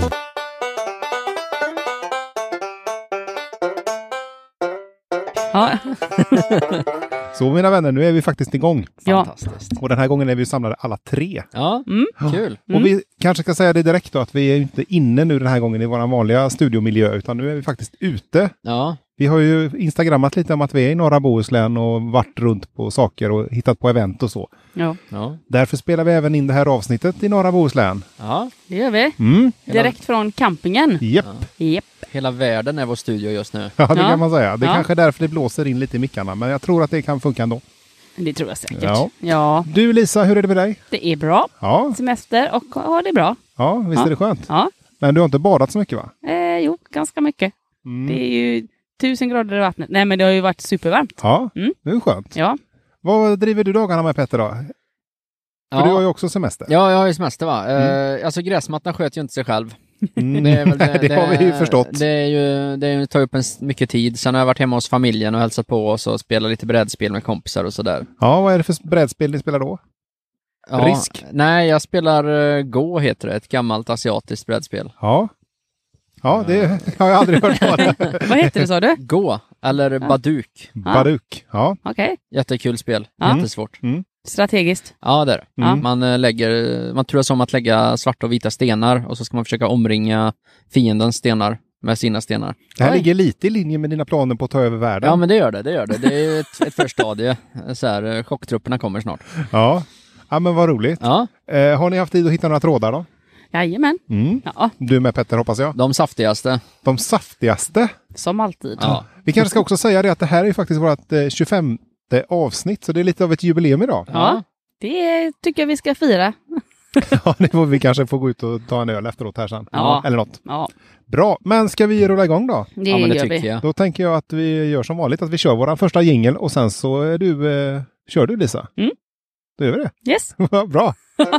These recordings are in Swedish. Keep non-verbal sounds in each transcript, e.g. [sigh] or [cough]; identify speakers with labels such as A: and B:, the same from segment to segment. A: [laughs]
B: Ja,
C: Så mina vänner, nu är vi faktiskt igång.
B: ja.
A: Fantastiskt.
C: Och den här gången är vi samlade alla tre.
A: Ja,
B: Mm.
A: kul.
C: Och vi kanske ska säga det direkt då, att vi är ju inte inne nu den här gången i vår vanliga studiomiljö, utan nu är vi faktiskt ute.
A: Ja,
C: Vi har ju instagrammat lite om att vi är i norra Bohuslän och varit runt på saker och hittat på event och så.
B: ja.
A: ja,
C: Därför spelar vi även in det här avsnittet i norra Bohuslän.
A: ja.
B: det gör vi.
C: Mm,
A: Hela-
B: Direkt från campingen.
C: japp.
B: Japp.
A: Hela världen är vår studio just nu.
C: Ja, det
B: Ja.
C: kan man säga. Det är
B: Ja.
C: kanske är därför det blåser in lite i mickarna, men jag tror att det kan funka ändå.
B: Det tror jag säkert.
C: Ja.
B: Ja.
C: Du Lisa, hur är det med dig?
B: det är bra.
C: Ja,
B: Semester och ja, det är bra.
C: ja visst
B: Ja.
C: är det skönt.
B: Ja,
C: Men du har inte badat så mycket va? Mm.
B: eh, jo, ganska mycket.
A: Mm.
B: Det är ju tusen grader i vattnet. Nej, men det har ju varit supervarmt.
C: Ja,
B: Mm.
C: det är skönt.
B: Ja,
C: Vad driver du dagarna med Petter då? För du har ju
A: Ja,
C: också semester.
A: ja jag har ju semester va. Eh, alltså gräsmattan sköter ju inte sig
C: [laughs]
A: själv.
C: Mm,
A: Det,
C: [laughs]
A: är väl
C: det, har vi ju förstått.
A: Det, är ju, det är ju, tar upp en, s- mycket tid. Sen har jag varit hemma hos familjen och hälsat på oss och spelat lite brädspel med kompisar och sådär.
C: Ja, vad är det för brädspel ni spelar då?
A: Ja,
C: Risk?
A: Nej, jag spelar eh, Go heter det, ett gammalt asiatiskt brädspel.
C: Ja, ja det [laughs] har jag aldrig hört talas om.
B: vad heter det sa
A: [laughs]
B: du?
A: Go, eller Baduk.
C: Baduk. Ja.
B: Okej,
A: Jättekul spel,
B: Ja.
A: jättesvårt.
B: strategiskt.
A: Ja, det är det.
B: Ja.
A: Man, eh, lägger, man turas om att lägga svarta och vita stenar och så ska man försöka omringa fiendens stenar med sina stenar.
C: Det här
B: Oj.
C: ligger lite i linje med dina planer på att ta över världen.
A: Ja, men det gör det. Det gör det. Det är ju ett, [laughs] ett förstadie. Så här, eh, chocktrupperna kommer snart.
C: ja. ja, men vad roligt.
A: Ja,
C: Eh, har ni haft tid att hitta några trådar då?
B: Jajamän.
C: Mm.
B: Ja,
C: Du med Petter hoppas jag.
A: de saftigaste.
C: De saftigaste.
B: som alltid.
A: Ja,
C: Vi kanske ska också säga det att det här är ju faktiskt vårt eh, 25 avsnitt, så det är lite av ett jubileum idag.
B: Ja. Det tycker jag vi ska fira.
C: [laughs] Ja, det får vi kanske få gå ut och ta en öl efteråt här sen.
B: Ja.
C: Eller något.
B: Ja,
C: Bra, men ska vi rulla igång då?
B: det,
A: ja men det
B: gör vi.
A: tycker jag.
C: Då tänker jag att vi gör som vanligt, att vi kör vår första jingel och sen så är du, eh, kör du Lisa.
B: Mm.
C: Då gör vi det. [laughs]
B: Yes.
C: Vad Bra! [laughs]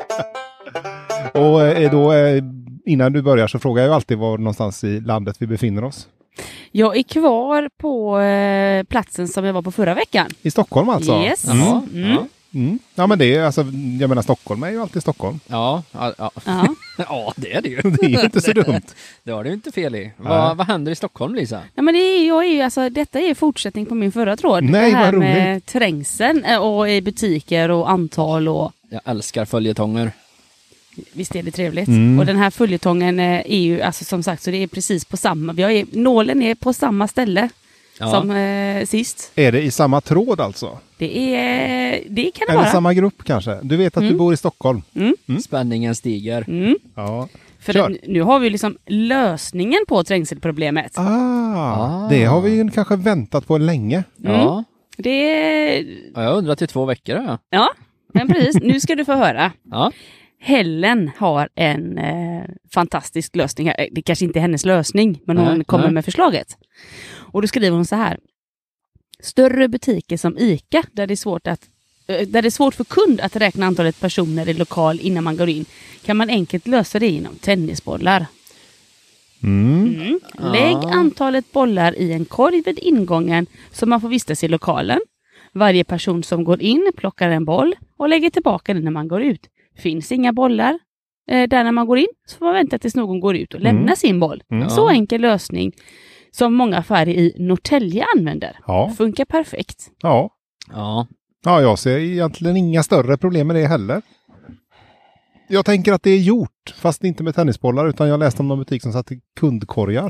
C: och eh, då, eh, innan du börjar så frågar jag ju alltid var någonstans i landet vi befinner oss.
B: Jag är kvar på eh, platsen som jag var på förra veckan.
C: I Stockholm alltså?
B: Yes.
C: Mm.
A: Ja,
B: Mm.
A: ja,
C: Mm. Ja, men det är alltså, jag menar Stockholm är ju alltid Stockholm. [laughs]
A: ja, ja, ja. [laughs]
B: Ja.
A: ja, det är det ju.
C: Det är ju inte så dumt.
A: Det har du ju inte fel i.
C: Nej.
A: Vad, vad händer i Stockholm, Lisa?
B: Ja, men det är, jag är ju, alltså, detta är fortsättning på min förra tråd.
C: Nej,
B: det här
C: vad roligt.
B: med trängseln eh, och i butiker och antal och
A: Jag älskar följetonger.
B: visst är det trevligt.
C: Mm.
B: Och den här följetongen eh, är ju alltså, som sagt så det är precis på samma, vi har ju, nålen är på samma ställe
A: Ja.
B: som eh, sist.
C: Är det i samma tråd alltså?
B: Det, är, det kan det
C: Eller
B: vara.
C: samma grupp kanske? Du vet att du bor i Stockholm?
A: Mm. Spänningen stiger.
B: Mm.
C: Ja.
B: För
C: Kör.
B: nu- nu har vi ju liksom lösningen på trängselproblemet.
C: Ah,
A: Ah.
C: Det har vi ju kanske väntat på länge.
A: Ja.
B: Det är,
A: ja, jag har undrat i två veckor. Ja.
B: ja, men precis. nu ska du få höra.
A: Ja.
B: Helen har en eh, fantastisk lösning. här. Eh, Det kanske inte är hennes lösning, men
A: Nej,
B: hon kommer
A: nej.
B: med förslaget. Och då skriver hon så här. Större butiker som ICA, där det är svårt att eh, där det är svårt för kund att räkna antalet personer i lokal innan man går in kan man enkelt lösa det genom tennisbollar. Mm. Lägg antalet bollar i en korg vid ingången så man får vistas i lokalen. Varje person som går in plockar en boll och lägger tillbaka den när man går ut. Finns inga bollar eh, där när man går in så får man vänta tills någon går ut och
C: Mm.
B: lämnar sin boll. Så enkel lösning som många affärer i Norrtälje använder.
C: Ja.
B: Funkar perfekt.
C: Ja.
A: ja.
C: ja, jag ser egentligen inga större problem med det heller. Jag tänker att det är gjort, fast inte med tennisbollar, utan jag läste om någon butik som satte kundkorgar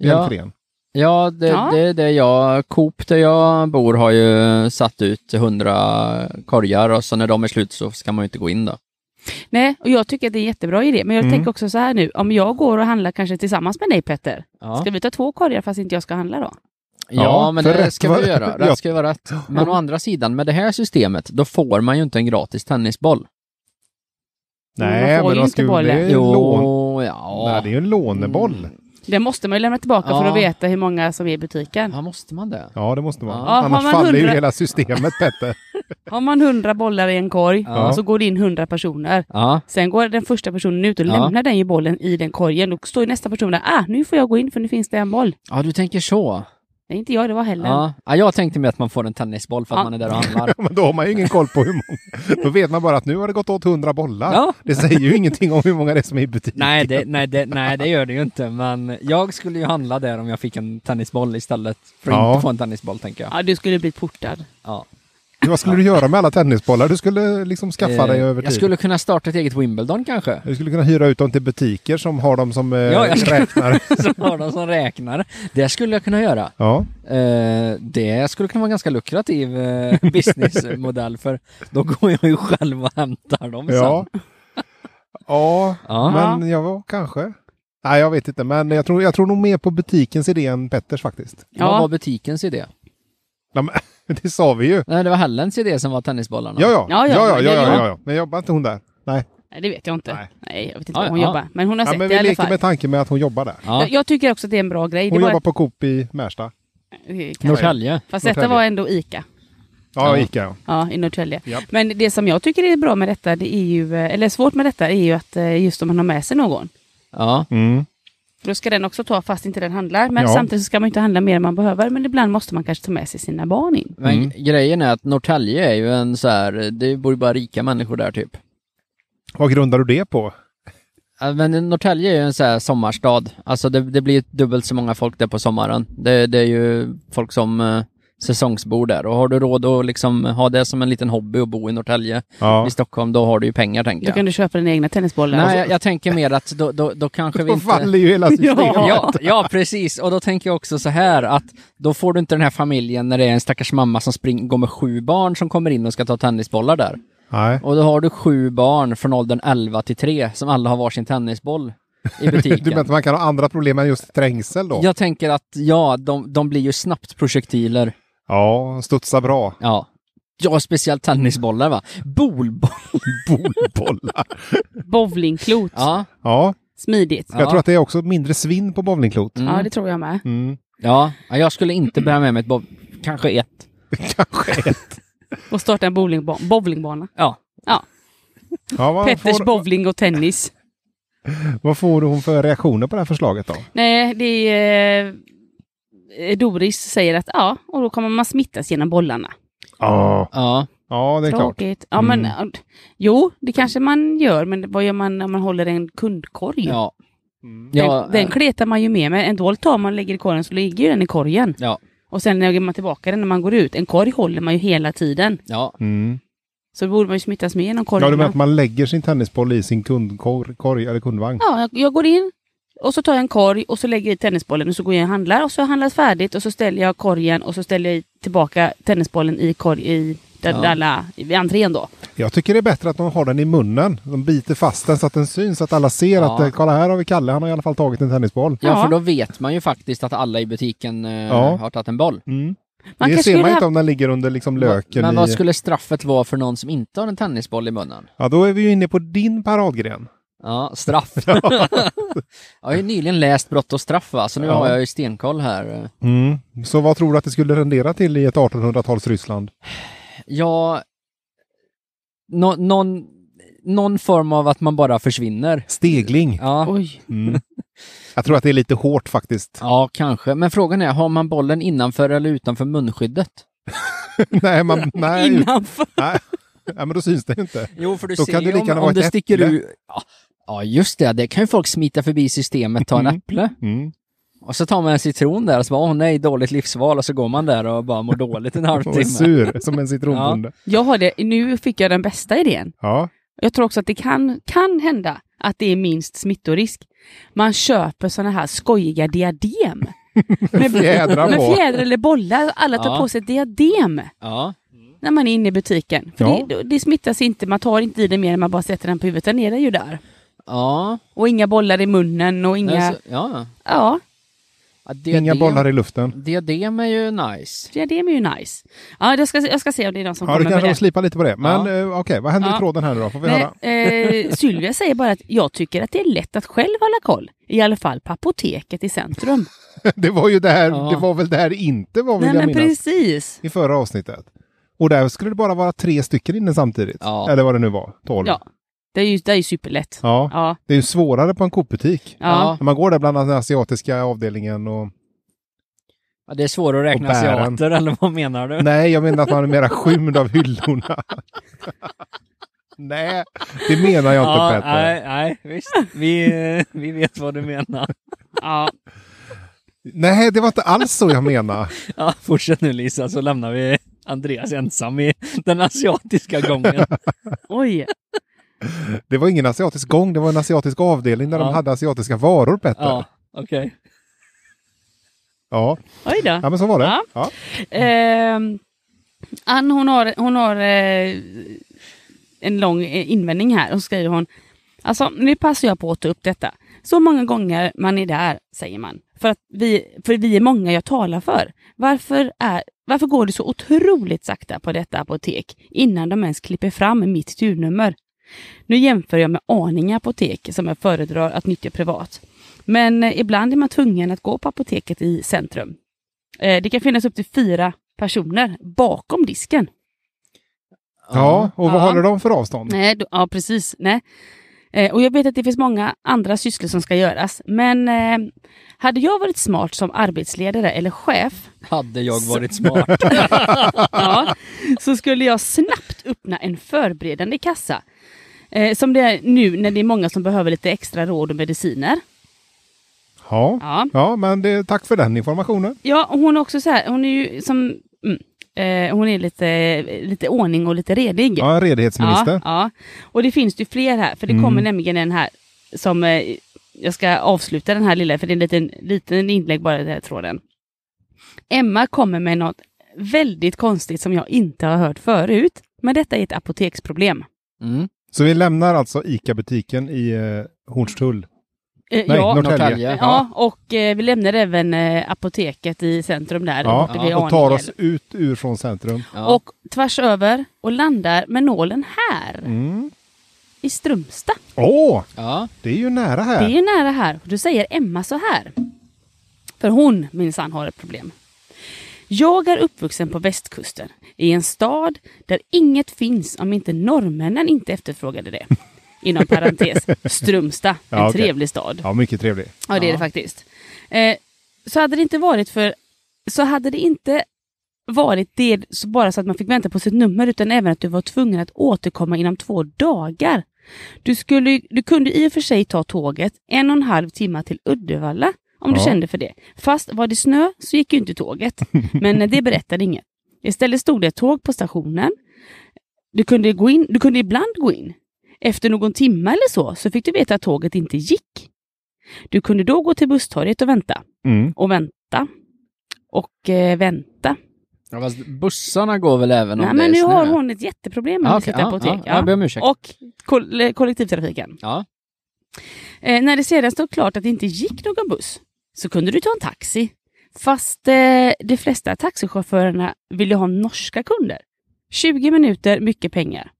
C: i
A: Ja.
B: Mm,
C: entrén.
A: Ja, det,
B: Ja.
A: det är det jag, Coop där jag bor har ju satt ut 100 korgar och så när de är slut så ska man ju inte gå in då.
B: Nej, och jag tycker att det är en jättebra idé. Men jag
C: Mm.
B: tänker också så här nu, om jag går och handlar kanske tillsammans med dig Petter,
A: Ja,
B: ska vi ta två korgar fast inte jag ska handla då?
A: ja,
C: Ja,
A: men
C: för
A: det
C: rätt
A: ska
C: var-
A: vi
C: [laughs]
A: göra.
C: Ja.
A: Rätt ska ju vara rätt. Men å andra sidan, med det här systemet, då får man ju inte en gratis tennisboll.
B: man får ju
C: de
B: inte
C: skulle-
B: bollen. Mm.
C: det är ju lån. Nej,
A: ja.
C: det är ju en låneboll.
B: Det måste man ju lämna tillbaka
A: Ja.
B: för att veta hur många som är i butiken.
A: ja, måste man det?
C: Ja, det måste man.
A: Ja.
B: Ja, har
C: Annars
B: man
C: faller ju
B: hundra-
C: hela systemet, Petter. [laughs]
B: Har man hundra bollar i en korg
A: Ja.
B: och så går det in hundra personer.
A: Ja,
B: Sen går den första personen ut och
A: Ja.
B: lämnar den ju bollen i den korgen. Då står ju nästa person där, ah, nu får jag gå in för nu finns det en boll.
A: ja du tänker så.
B: Nej, inte jag det var heller.
A: Ja. ja, jag tänkte mig att man får en tennisboll för att
B: Ja.
A: man är där och handlar.
C: Ja, men då har man ju ingen koll på hur många. Då vet man bara att nu har det gått åt 100 bollar.
A: Ja.
C: Det säger ju ingenting om hur många det är som är i butiken.
A: [laughs] Nej det, nej, det, nej, det gör det ju inte, men jag skulle ju handla där om jag fick en tennisboll istället för att
C: Ja.
A: inte få en tennisboll, tänker jag.
B: Ja, du skulle bli portad.
A: Ja.
C: Vad skulle du göra med alla tennisbollar? Du skulle liksom skaffa
A: Eh,
C: dig över tid.
A: jag skulle kunna starta ett eget
C: [laughs]
A: Wimbledon kanske.
C: Du skulle kunna hyra ut dem till butiker som har dem som eh,
A: Ja, jag skulle-
C: räknare.
A: Som har de som räknar. Det skulle jag kunna göra.
C: Ja.
A: Eh, det skulle kunna vara en ganska lukrativ eh, businessmodell för då går jag ju själv och hämtar dem
C: Ja.
A: sen.
C: ja,
A: Ja.
C: men jag var kanske. Nej, jag vet inte. Men jag tror, jag tror nog mer på butikens idé än Petters faktiskt.
A: Vad
B: Ja.
A: var butikens idé?
C: Ja, men, [laughs] det sa vi ju.
A: Nej, det var Hellens idé som var tennisbollarna.
C: Ja, ja. Ja,
B: Ja, ja,
C: ja, ja,
B: men
C: ja,
B: det-
C: ja, ja. Men jobbar inte hon där? Nej,
B: Nej, det vet jag inte.
C: Nej.
B: Nej, jag vet inte
A: Ja,
B: var hon
A: ja.
B: jobbar. Men hon har
C: ja,
B: sett
C: men
B: det i
C: vi
B: alla
C: leker
B: fall.
C: med tanken med att hon jobbar där.
A: ja.
B: Jag, jag tycker också att det är en bra grej.
C: Hon
B: det
C: jobbar
B: var,
C: på Coop i Märsta.
B: kanske-
A: Norrtälje.
B: Fast
C: Norrtälje.
B: detta var ändå ICA.
C: Ja,
A: Ja.
C: Ica. Ja.
B: Ja, i Norrtälje.
C: Japp.
B: Men det som jag tycker är bra med detta, det är ju, eh, eller svårt med detta, är ju att eh, just om man har med sig någon.
A: Ja.
C: Mm.
B: För Då ska den också ta, fast inte den handlar. Men
C: Ja.
B: samtidigt så ska man ju inte handla mer än man behöver. Men ibland måste man kanske ta med sig sina barn in.
A: Men
C: Mm.
A: grejen är att Norrtälje är ju en så här, det bor ju bara rika människor där typ.
C: Vad grundar du det på?
A: Ja, Men Norrtälje är ju en så här sommarstad. Alltså det, det blir ju dubbelt så många folk där på sommaren. Det, det är ju folk som eh, säsongsbor där. Och har du råd att liksom ha det som en liten hobby och bo i Norrtälje
C: Ja.
A: i Stockholm, då har du ju pengar tänker
B: Då
A: jag.
B: kan du köpa dina egna Alltså, tennisbollar.
A: Nej, jag, jag tänker mer att då, då,
C: [laughs]
A: då kanske vi
C: Då
A: inte...
C: faller ju hela systemet.
A: Ja, ja, precis. Och då tänker jag också så här att då får du inte den här familjen när det är en stackars mamma som spring, går med sju barn som kommer in och ska ta tennisbollar där.
C: Nej.
A: Och då har du sju barn från åldern 11 till 3 som alla har varsin tennisboll
C: [laughs]
A: i
C: Du menar
A: butiken.
C: att man kan ha andra problem än just trängsel då?
A: Jag tänker att ja, de, de blir ju snabbt projektiler.
C: Ja, studsa bra.
A: Ja. Ja, speciellt tennisbollar va? Bolboll.
C: Bolbollar.
B: Bowlingklot.
A: Ja.
C: Ja,
B: Smidigt.
C: jag tror att det är också mindre svinn på bowlingklot.
A: Mm.
B: Ja, det tror jag med.
C: Mm. [laughs]
A: Ja, ja, jag skulle inte bära med mig ett boll. Kanske ett.
C: Kanske.
B: Och starta en bowlingba- bowlingbana.
A: Ja.
C: Ja, vad,
B: Petters
C: får,
B: bowling och tennis.
C: vad får hon för reaktioner på det här förslaget då?
B: Nej, det är... eh, Doris säger att ja, och då kommer man smittas genom bollarna.
C: Ja,
A: Ja.
C: ja det är klart.
B: Tråkigt. Ja, men,
A: Mm.
B: ja, jo, det kanske man gör, men vad gör man om man håller en kundkorg?
A: Ja.
C: Mm.
B: Den,
A: ja. eh.
B: den kletar man ju med, men en dold tar man och lägger i korgen så ligger ju den i korgen.
A: Ja.
B: Och sen lägger man tillbaka den när man går ut. En korg håller man ju hela tiden.
A: Ja.
C: Mm.
B: Så då borde man ju smittas med genom
C: Ja,
B: korgen.
C: du menar att man lägger sin tennisboll i sin kundkorg korg, eller kundvagn?
B: Ja, jag, jag går in och så tar jag en korg och så lägger jag i tennisbollen och så går jag och handlar och så har jag handlat färdigt och så ställer jag korgen och så ställer jag i- tillbaka tennisbollen i korg i där
A: Ja.
B: alla, i entrén då.
C: Jag tycker det är bättre att de har den i munnen. De biter fast den så att den syns, så att alla ser
A: Ja.
C: att eh, kolla här har vi Kalle, han har i alla fall tagit en tennisboll.
A: Ja,
B: Ja.
A: för då vet man ju faktiskt att alla i butiken eh,
C: Ja.
A: har tagit en boll.
C: Mm.
B: Man
C: det
B: kanske
C: ser man
B: skulle
C: inte om den ligger under liksom löken.
A: Men vad
C: i...
A: skulle straffet vara för någon som inte har en tennisboll i munnen?
C: Ja, då är vi ju inne på din paradgren.
A: Ja, straff. jag har ju nyligen läst Brott och straff va, så nu
C: Ja.
A: har jag ju stenkoll här.
C: [laughs] Mm. Så vad tror du att det skulle rendera till i ett 1800-tals Ryssland?
A: Ja, nå någon, någon form av att man bara försvinner.
C: Stegling.
A: Ja,
B: Oj.
C: Mm. Jag tror att det är lite
B: [laughs]
C: hårt faktiskt.
A: ja, kanske. Men frågan är, har man bollen innanför eller utanför munskyddet?
C: nej, man, nej,
B: Innanför.
C: nej. nej, men då syns det ju inte.
A: Jo, för du
C: Då
A: ser
C: kan det
A: ju
C: lika
A: om,
C: gärna
A: om
C: vara
A: det
C: ett
A: sticker
C: äpple.
A: ut. Ja, ja, just det. Det kan ju folk smita förbi systemet, ta en
C: Mm.
A: äpple.
C: Mm.
A: Och så tar man en citron där och så bara, åh nej, dåligt livsval. Och så går man där och bara mår
C: [laughs]
A: dåligt en
C: Och är
A: halvtimme.
C: sur som en citronbonde.
B: Jag har det, nu fick jag den bästa idén.
C: Ja.
B: Jag tror också att det kan, kan hända att det är minst smittorisk. Man köper såna här skojiga diadem. med,
C: Fjädrar
B: med
C: på.
B: fjädrar eller bollar. Alla tar
A: Ja.
B: på sig ett diadem.
A: Ja,
B: när man är inne i butiken. För
C: Ja.
B: det, det smittas inte, man tar inte i den mer än man bara sätter den på huvudet. Den är den ju där.
A: ja,
B: Och inga bollar i munnen och
A: Nej,
B: inga...
A: så- ja.
B: Ja,
A: ja diadem,
C: Inga bollar i luften.
A: Diadem är ju nice.
B: diadem är ju nice. Ja, jag ska, jag ska se om det är någon som
C: Ja, du
B: kommer med
C: kanske
B: det.
C: får slipa lite på det. Men
A: Ja.
C: eh, okej, vad händer i
B: Ja.
C: tråden här nu då? Får vi höra? [laughs]
B: Nej, eh, Sylvia säger bara att jag tycker att det är lätt att själv hålla koll. I alla fall på apoteket i centrum.
C: Det var ju det här,
A: Ja.
C: det var väl det här inte var vill
B: Nej, men
C: jag minnas.
B: precis.
C: I förra avsnittet. Och där skulle det bara vara tre stycken inne samtidigt.
A: Ja.
C: Eller vad det nu var, tolv.
B: Ja, det är ju, det är ju superlätt.
C: Ja.
B: Ja,
C: Det är ju svårare på en Coop-butik.
B: ja.
C: När man går där bland den asiatiska avdelningen och
A: Ja, det är svårare att räkna
C: Och bären.
A: asiater, eller vad menar du?
C: Nej, jag menar att man är mera skymd av hyllorna. Nej, det menar jag inte
A: ja,
C: Peter. Nej.
A: nej, nej, visst. Vi, eh, vi vet vad du menar.
B: Ja,
C: det var inte alls så jag menar.
A: Ja, fortsätt nu Lisa, så lämnar vi Andreas ensam i den asiatiska gången.
B: oj.
C: Det var ingen asiatisk gång, det var en asiatisk avdelning där
A: Ja.
C: de hade asiatiska varor Petter.
A: Ja,
C: Ja.
A: okej.
C: Ja.
B: Oj då.
C: men så var det.
B: Ja.
C: Ja.
B: Ehm, Ann hon har, hon har eh, en lång eh, invändning här. Och skriver hon. Alltså nu passar jag på att ta upp detta. Så många gånger man är där, säger man. För, att vi, för vi är många jag talar för. Varför, är, varför går det så otroligt sakta på detta apotek innan de ens klipper fram mitt turnummer? Nu jämför jag med Arninge apotek som jag föredrar att nyttja privat. Men eh, ibland är man tvungen att gå på apoteket i centrum. Eh, det kan finnas upp till fyra personer bakom disken.
C: ja, och vad
B: Ja.
C: håller de för avstånd?
B: Nej, då, ja precis. Nej. Eh, och jag vet att det finns många andra sysslor som ska göras. Men eh, hade jag varit smart som arbetsledare eller [laughs] chef
A: Hade jag varit smart.
B: ja, så skulle jag snabbt öppna en förberedande kassa. Eh, som det är nu när det är många som behöver lite extra råd och mediciner.
C: Ja.
B: Ja.
C: ja, men det, tack för den informationen.
B: Ja, och hon är också så här, hon är ju som... Mm, eh, hon är lite, lite ordning och lite redig.
C: Ja, en redighetsminister.
B: Ja, ja. Och det finns ju fler här, för det
C: Mm.
B: kommer nämligen en här som eh, jag ska avsluta den här lilla, för det är en liten, liten inlägg bara i den här tråden. Emma kommer med något väldigt konstigt som jag inte har hört förut, men detta är ett apoteksproblem.
A: Mm.
C: Så vi lämnar alltså ICA-butiken i eh, Hornstull.
B: Eh,
C: Nej,
B: ja,
C: Norrtälje.
A: Norrtälje.
B: ja, och eh, vi lämnar även eh, apoteket i centrum där.
C: Ja,
B: borta vid
C: och tar
B: Arninge.
C: oss ut ur från centrum.
A: Ja.
B: Och tvärs över och landar med nålen här,
C: Mm.
B: i Strömstad.
C: Åh,
A: ja.
C: det är ju nära
B: Det
C: här.
B: är ju nära här. Du säger Emma så här. För hon minsann har ett problem. Jag är uppvuxen på västkusten, i en stad där inget finns om inte norrmännen inte efterfrågade det. Inom parentes, Strömstad, en
C: Ja, okej.
B: trevlig stad.
C: Ja, mycket trevligt.
B: Ja, det är det
A: Ja.
B: faktiskt. Eh, så hade det inte varit för... Så hade det inte varit det så bara så att man fick vänta på sitt nummer utan även att du var tvungen att återkomma inom två dagar. Du, skulle, du kunde i och för sig ta tåget en och en halv timme till Uddevalla om du
C: Ja.
B: kände för det. Fast var det snö så gick ju inte tåget. Men eh, det berättade ingen. Istället stod det ett tåg på stationen. Du kunde, gå in, du kunde ibland gå in. Efter någon timme eller så, så fick du veta att tåget inte gick. Du kunde då gå till busstorget och vänta.
C: Mm.
B: Och vänta. Och eh, vänta.
A: ja, fast bussarna går väl även om
B: Nej,
A: det
B: men
A: är
B: nu
A: snö?
B: har hon ett jätteproblem med
A: Ja,
B: sitt
A: Ah, okej, ja,
B: apotek.
A: ja, jag ber om ursäkt.
B: Och koll- eh, kollektivtrafiken.
A: Ja.
B: Eh, när det sedan stod klart att det inte gick någon buss så kunde du ta en taxi. Fast eh, de flesta taxichaufförerna ville ha norska kunder. 20 minuter, mycket pengar.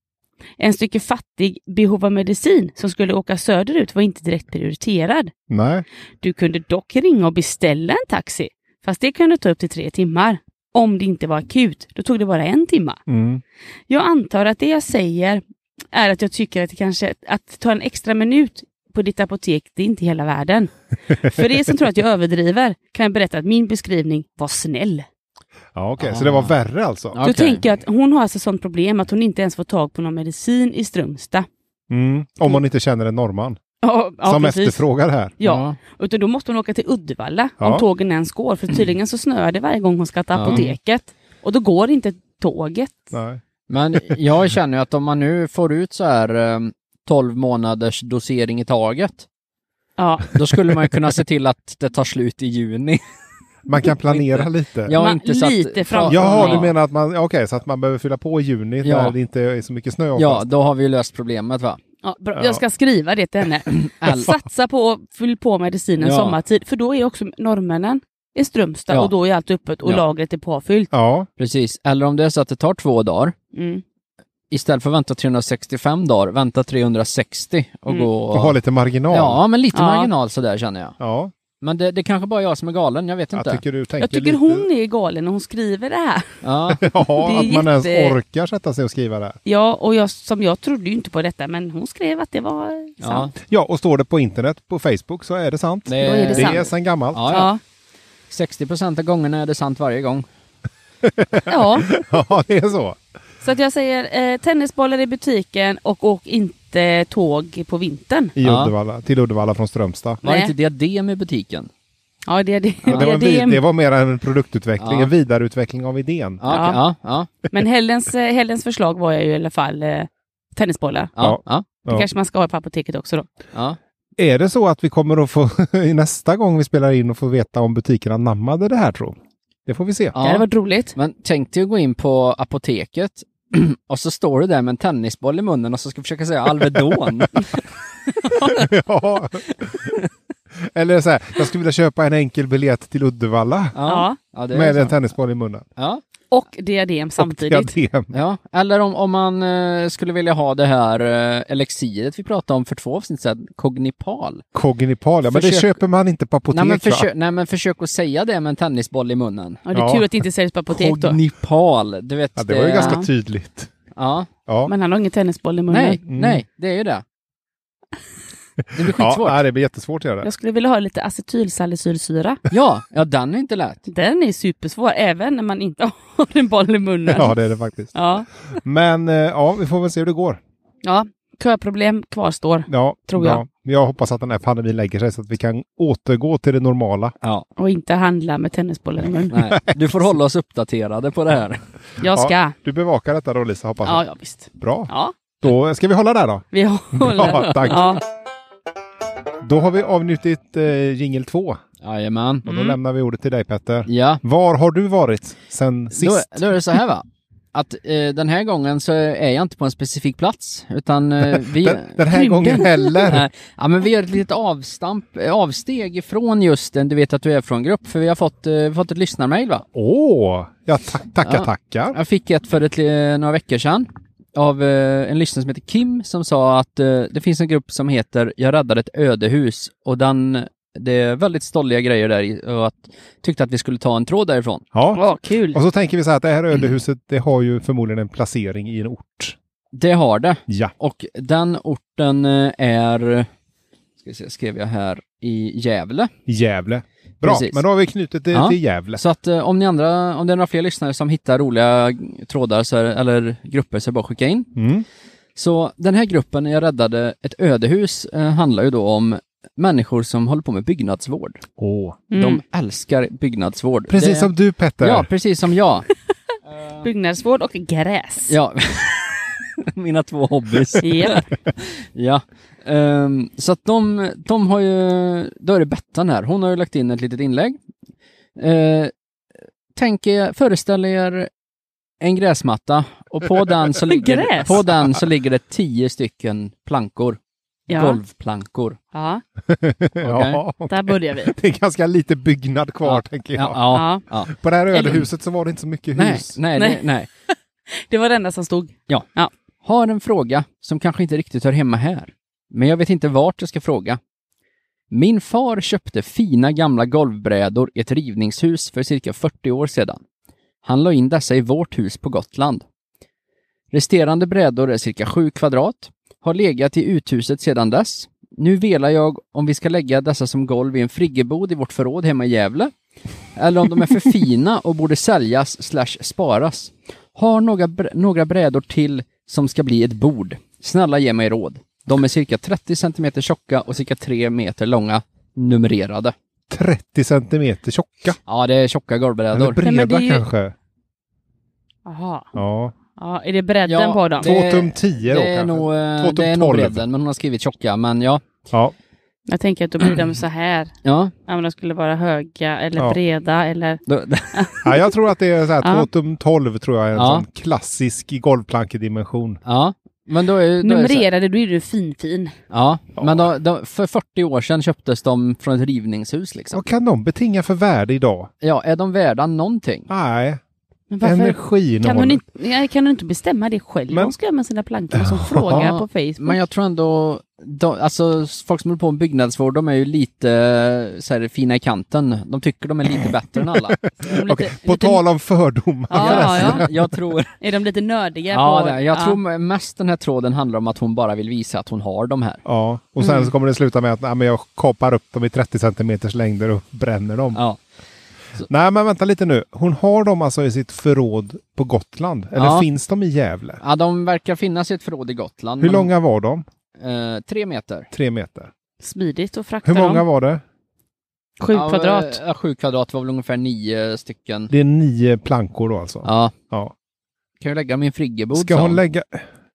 B: En stycke fattig, behov av medicin, som skulle åka söderut var inte direkt prioriterad.
C: Nej.
B: Du kunde dock ringa och beställa en taxi, fast det kunde ta upp till tre timmar. Om det inte var akut, då tog det bara en timme.
C: Mm.
B: Jag antar att det jag säger är att jag tycker att det kanske att ta en extra minut på ditt apotek, det är inte hela världen. För er som tror att jag överdriver kan jag berätta att min beskrivning var snäll.
C: Ja, okej. Så det var
A: Ah.
C: värre alltså?
A: Ja.
B: Då
A: Okej.
B: tänker jag att hon har alltså sånt problem att hon inte ens får tag på någon medicin i Strömstad.
C: Mm. Om man inte känner en norrman
B: Ja, ja,
C: som
B: precis.
C: efterfrågar här.
B: Ja, utan då måste hon åka till Uddevalla om
C: Ja.
B: tågen ens går. För tydligen så snöar det varje gång hon ska till
A: Ja.
B: apoteket. Och då går inte tåget.
C: Nej.
A: Men jag känner ju att om man nu får ut så här ehm, 12 månaders dosering i taget,
B: Ja,
A: då skulle man ju kunna se till att det tar slut i juni.
C: Man kan planera lite.
A: Jag har
B: Man-
A: inte så att,
B: lite framför-
C: Jaha,
B: Ja.
C: du menar att man, ja, okej, så att man behöver fylla på i juni
A: Ja.
C: när det inte är så mycket snö?
A: Ja, då har vi ju löst problemet va?
B: ja, bra.
C: Ja.
B: Jag ska skriva det till
A: [clears throat]
B: henne.
A: All...
B: Satsa på att fylla på medicinen
A: Ja.
B: sommartid. För då är också norrmännen i Strömstad
A: Ja.
B: och då är allt öppet och
A: Ja.
B: lagret är påfyllt.
C: Ja,
A: Precis, eller om det är så att det tar två dagar,
B: Mm.
A: istället för att vänta 365 dagar, vänta 360 och
B: Mm.
A: gå...
C: och ha lite marginal.
A: Ja, men lite
B: Ja.
A: marginal sådär känner jag.
C: Ja,
A: Men det, det kanske bara är jag som är galen, jag vet
C: jag
A: inte.
C: tycker du tänker
B: Jag tycker
C: lite...
B: hon är galen när hon skriver det här. [laughs]
A: Ja.
C: [laughs] Ja,
B: Det är
C: att man ens
B: jätte-
C: orkar sätta sig och skriva det.
B: Ja, och jag, som jag trodde ju inte på detta, men hon skrev att det var sant.
A: Ja.
C: Ja, och står det på internet, på Facebook, så är det sant.
A: Det-
B: Då är det
C: Det
B: sant.
C: är sedan gammalt.
A: Ja, ja.
B: Ja.
A: 60% av gångerna är det sant varje gång.
B: Ja,
C: [laughs] Ja, det är så.
B: så att jag säger eh, tennisbollar i butiken och åk inte tåg på vintern.
C: I
A: Ja.
C: Uddevalla, till Uddevalla från Strömstad.
A: Var det
B: Nej.
A: inte diadem i butiken?
B: Ja, det är det.
C: Det, var en
B: det, är
C: vid, det var mer en produktutveckling,
A: Ja.
C: en vidareutveckling av idén.
A: Ja,
B: Ja.
A: okej, ja. Ja,
B: Men Hellens, eh, Hellens förslag var jag ju i alla fall eh, tennisbollar.
A: ja,
C: Ja.
A: ja,
B: Det
C: Ja.
B: kanske man ska ha på apoteket också då.
A: ja.
C: Är det så att vi kommer att få [laughs] i nästa gång vi spelar in och få veta om butiken anammade det här tro? Det får vi se.
B: Det hade varit roligt.
A: Men tänk dig att gå in på apoteket [clears throat] och så står du där med en tennisboll i munnen och så ska försöka
B: [laughs]
A: säga Alvedon.
C: [laughs] Ja. Eller så här, jag skulle vilja köpa en enkel biljett till Uddevalla
B: Ja.
A: ja, det
C: med
A: är
C: en
A: så.
C: tennisboll i munnen.
A: ja.
B: Och diadem samtidigt.
C: Diadem.
A: ja. Eller om, om man eh, skulle vilja ha det här eh, elixiret vi pratade om för två avsnitt sedan, kognipal.
C: Kognipal, ja, men det
A: Försök-
C: köper man inte på apotek
A: Nej men,
C: va?
A: försök, nej men försök att säga det med en tennisboll i munnen.
B: Ja, det är
C: Ja.
B: tur att det inte säljs på apotek då.
A: Kognipal, du vet. eh,
C: Ja, det var ju
B: Ja.
C: ganska tydligt.
A: ja.
C: Ja.
B: Men han har ingen tennisboll i munnen.
A: Nej,
C: Mm.
A: nej, det är ju
C: [laughs]
A: det. Det blir
C: Ja,
A: skitsvårt.
C: nej, det blir jättesvårt att göra det.
B: Jag skulle vilja ha lite acetylsalicylsyra.
A: Ja, ja, den är inte lätt.
B: Den är supersvår, även när man inte [laughs] har en boll i munnen.
C: Ja, det är det faktiskt.
B: ja.
C: Men eh, ja, vi får väl se hur det går.
B: ja. köproblem kvarstår.
C: Ja,
B: Tror jag.
C: Ja. Jag hoppas att den här pandemin lägger sig så att vi kan återgå till det normala.
A: Ja,
B: Och inte handla med tennisbollar i munnen.
A: nej. Du får hålla oss uppdaterade på det här.
B: Jag ska. Ja,
C: Du bevakar detta då Lisa, hoppas jag.
B: ja, visst.
C: Bra.
B: Ja,
C: Då ska vi hålla där då.
B: vi
A: [laughs]
B: håller.
C: Bra, tack.
B: Ja.
C: Då har vi avnjutit eh, jingel 2 och
A: Jajamän.
C: då
B: Mm.
C: lämnar vi ordet till dig Petter.
A: Ja,
C: Var har du varit sen
A: då,
C: sist?
A: då är det så här va. Att eh, den här gången så är jag inte på en specifik plats, utan eh, vi...
C: Den, den här
B: Rymden.
C: gången
B: [laughs]
C: heller.
A: Nej. Ja men vi gör ett litet avstamp, eh, avsteg ifrån just den, du vet att du är från grupp, för vi har fått, eh, vi har fått ett lyssnarmail va?
C: Åh, ja, ta tackar,
A: Ja.
C: tackar.
A: Jag fick ett för ett, li- några veckor sedan av eh, en lyssnare som heter Kim som sa att eh, det finns en grupp som heter Jag räddade ett ödehus och den, det är väldigt stolliga grejer där i, och att, tyckte att vi skulle ta en tråd därifrån.
C: Ja.
B: Vad kul.
C: Och så tänker vi så här att det här ödehuset, det har ju förmodligen en placering i en ort.
A: Det har det
C: Ja.
A: och den orten eh, är, ska vi se, skrev jag här, i Gävle.
C: Gävle. Bra,
A: Precis.
C: men då har vi knutit det
A: Ja.
C: till Gävle.
A: Så att eh, om ni andra, om det är några fler lyssnare som hittar roliga trådar så är, eller grupper så är det bara att skicka in.
C: Mm.
A: Så den här gruppen, Jag räddade ett ödehus, eh, handlar ju då om människor som håller på med byggnadsvård.
C: Åh.
B: Mm.
A: De älskar byggnadsvård.
C: Precis
A: Det-
C: som du Petter. [laughs]
A: Ja, precis som jag.
B: Byggnadsvård och gräs.
C: [laughs]
A: Ja. [laughs] Mina två hobbys. [laughs]
B: Japp.
A: Ja. Ehm, så att de, de har ju, då är det Bettan här, hon har ju lagt in ett litet inlägg. Eh, tänk er, föreställ er en gräsmatta och på den så ligger,
B: Gräs?
A: på den så ligger det tio stycken plankor.
B: Ja.
A: Golvplankor.
B: ja,
C: ja.
B: där börjar vi.
C: Det är ganska lite byggnad kvar,
A: Ja.
C: tänker jag.
A: Ja,
B: Ja.
A: ja.
C: På det här ödehuset så var det inte så mycket
A: Nej,
C: hus.
A: nej,
B: Nej.
A: nej. nej.
B: Det var det enda som stod.
A: Har en fråga som kanske inte riktigt hör hemma här, men jag vet inte vart jag ska fråga. Min far köpte fina gamla golvbrädor i ett rivningshus för cirka 40 år sedan. Han la in dessa i vårt hus på Gotland. Resterande brädor är cirka 7 kvadrat, har legat i uthuset sedan dess. Nu velar jag om vi ska lägga dessa som golv i en friggebod i vårt förråd hemma i Gävle, eller om de är för [laughs] fina och borde säljas slash sparas. Har några, br- några brädor till som ska bli ett bord. Snälla ge mig råd. De är cirka 30 centimeter tjocka och cirka 3 meter långa, numrerade.
C: 30 centimeter tjocka.
A: Ja, det är tjocka
C: Eller
A: golvbrädor.
C: breda
B: Nej, men det är ju-
C: kanske.
B: Jaha.
C: Ja.
B: Ja, är det bredden
A: Ja,
B: på dem?
A: det-
C: Två tum tio då
A: Det är
C: kanske.
A: nog, eh,
C: Två tum
A: det är nog
C: 12.
A: bredden, men hon har skrivit tjocka, men ja.
C: Ja.
B: Jag tänker att då blir de så här.
A: Ja,
B: Ja, men de skulle vara höga eller
C: Ja.
B: breda eller...
A: då, [laughs]
C: ja, jag tror att det är så här,
B: Ja.
C: två tum 12 tror jag är en
A: Ja.
C: sån klassisk golvplankedimension.
A: ja. Men då är, då är det så,
B: Numrerade, då är du finfin.
A: Ja, men då, då, för 40 år sedan köptes de från ett rivningshus liksom.
C: Vad kan de betinga för värde idag?
A: Ja, är de värda någonting?
C: Nej,
B: Men varför
C: energin
B: kan hon, inte, nej, kan hon inte bestämma det själv?
C: Men-
B: Hon ska göra med sina plankor
A: [laughs]
B: som frågar på Facebook.
A: Men jag tror ändå, de, alltså folk som håller på med byggnadsvård, de är ju lite så här, fina i kanten. De tycker de är lite bättre
B: [laughs]
A: än alla.
B: Är de lite-
C: Okej, På
B: lite-
C: tal om fördomar.
B: Ja, ja, ja. [laughs]
A: Jag tror,
B: Är de lite nördiga?
A: ja,
B: på,
A: det, jag tror mest den här tråden handlar om att hon bara vill visa att hon har de här.
C: Ja, och Mm. sen så kommer det sluta med att nej, men jag kapar upp dem i 30 centimeters längder och bränner dem.
A: Ja.
C: Nej, men vänta lite nu. Hon har dem alltså i sitt förråd på Gotland? Eller
A: Ja.
C: finns de i Gävle?
A: Ja, de verkar finnas i ett förråd i Gotland.
C: Hur
A: men-
C: långa var de?
A: Eh, tre meter.
C: Tre meter.
B: Smidigt att frakta
C: Hur många
B: dem.
C: var det?
B: Sju
A: Ja,
B: kvadrat.
A: eh, Ja, sju kvadrat var väl ungefär nio stycken.
C: Det är nio plankor då alltså?
A: Ja,
C: Ja.
A: kan jag lägga min friggebod
C: Ska
A: sa
C: hon lägga...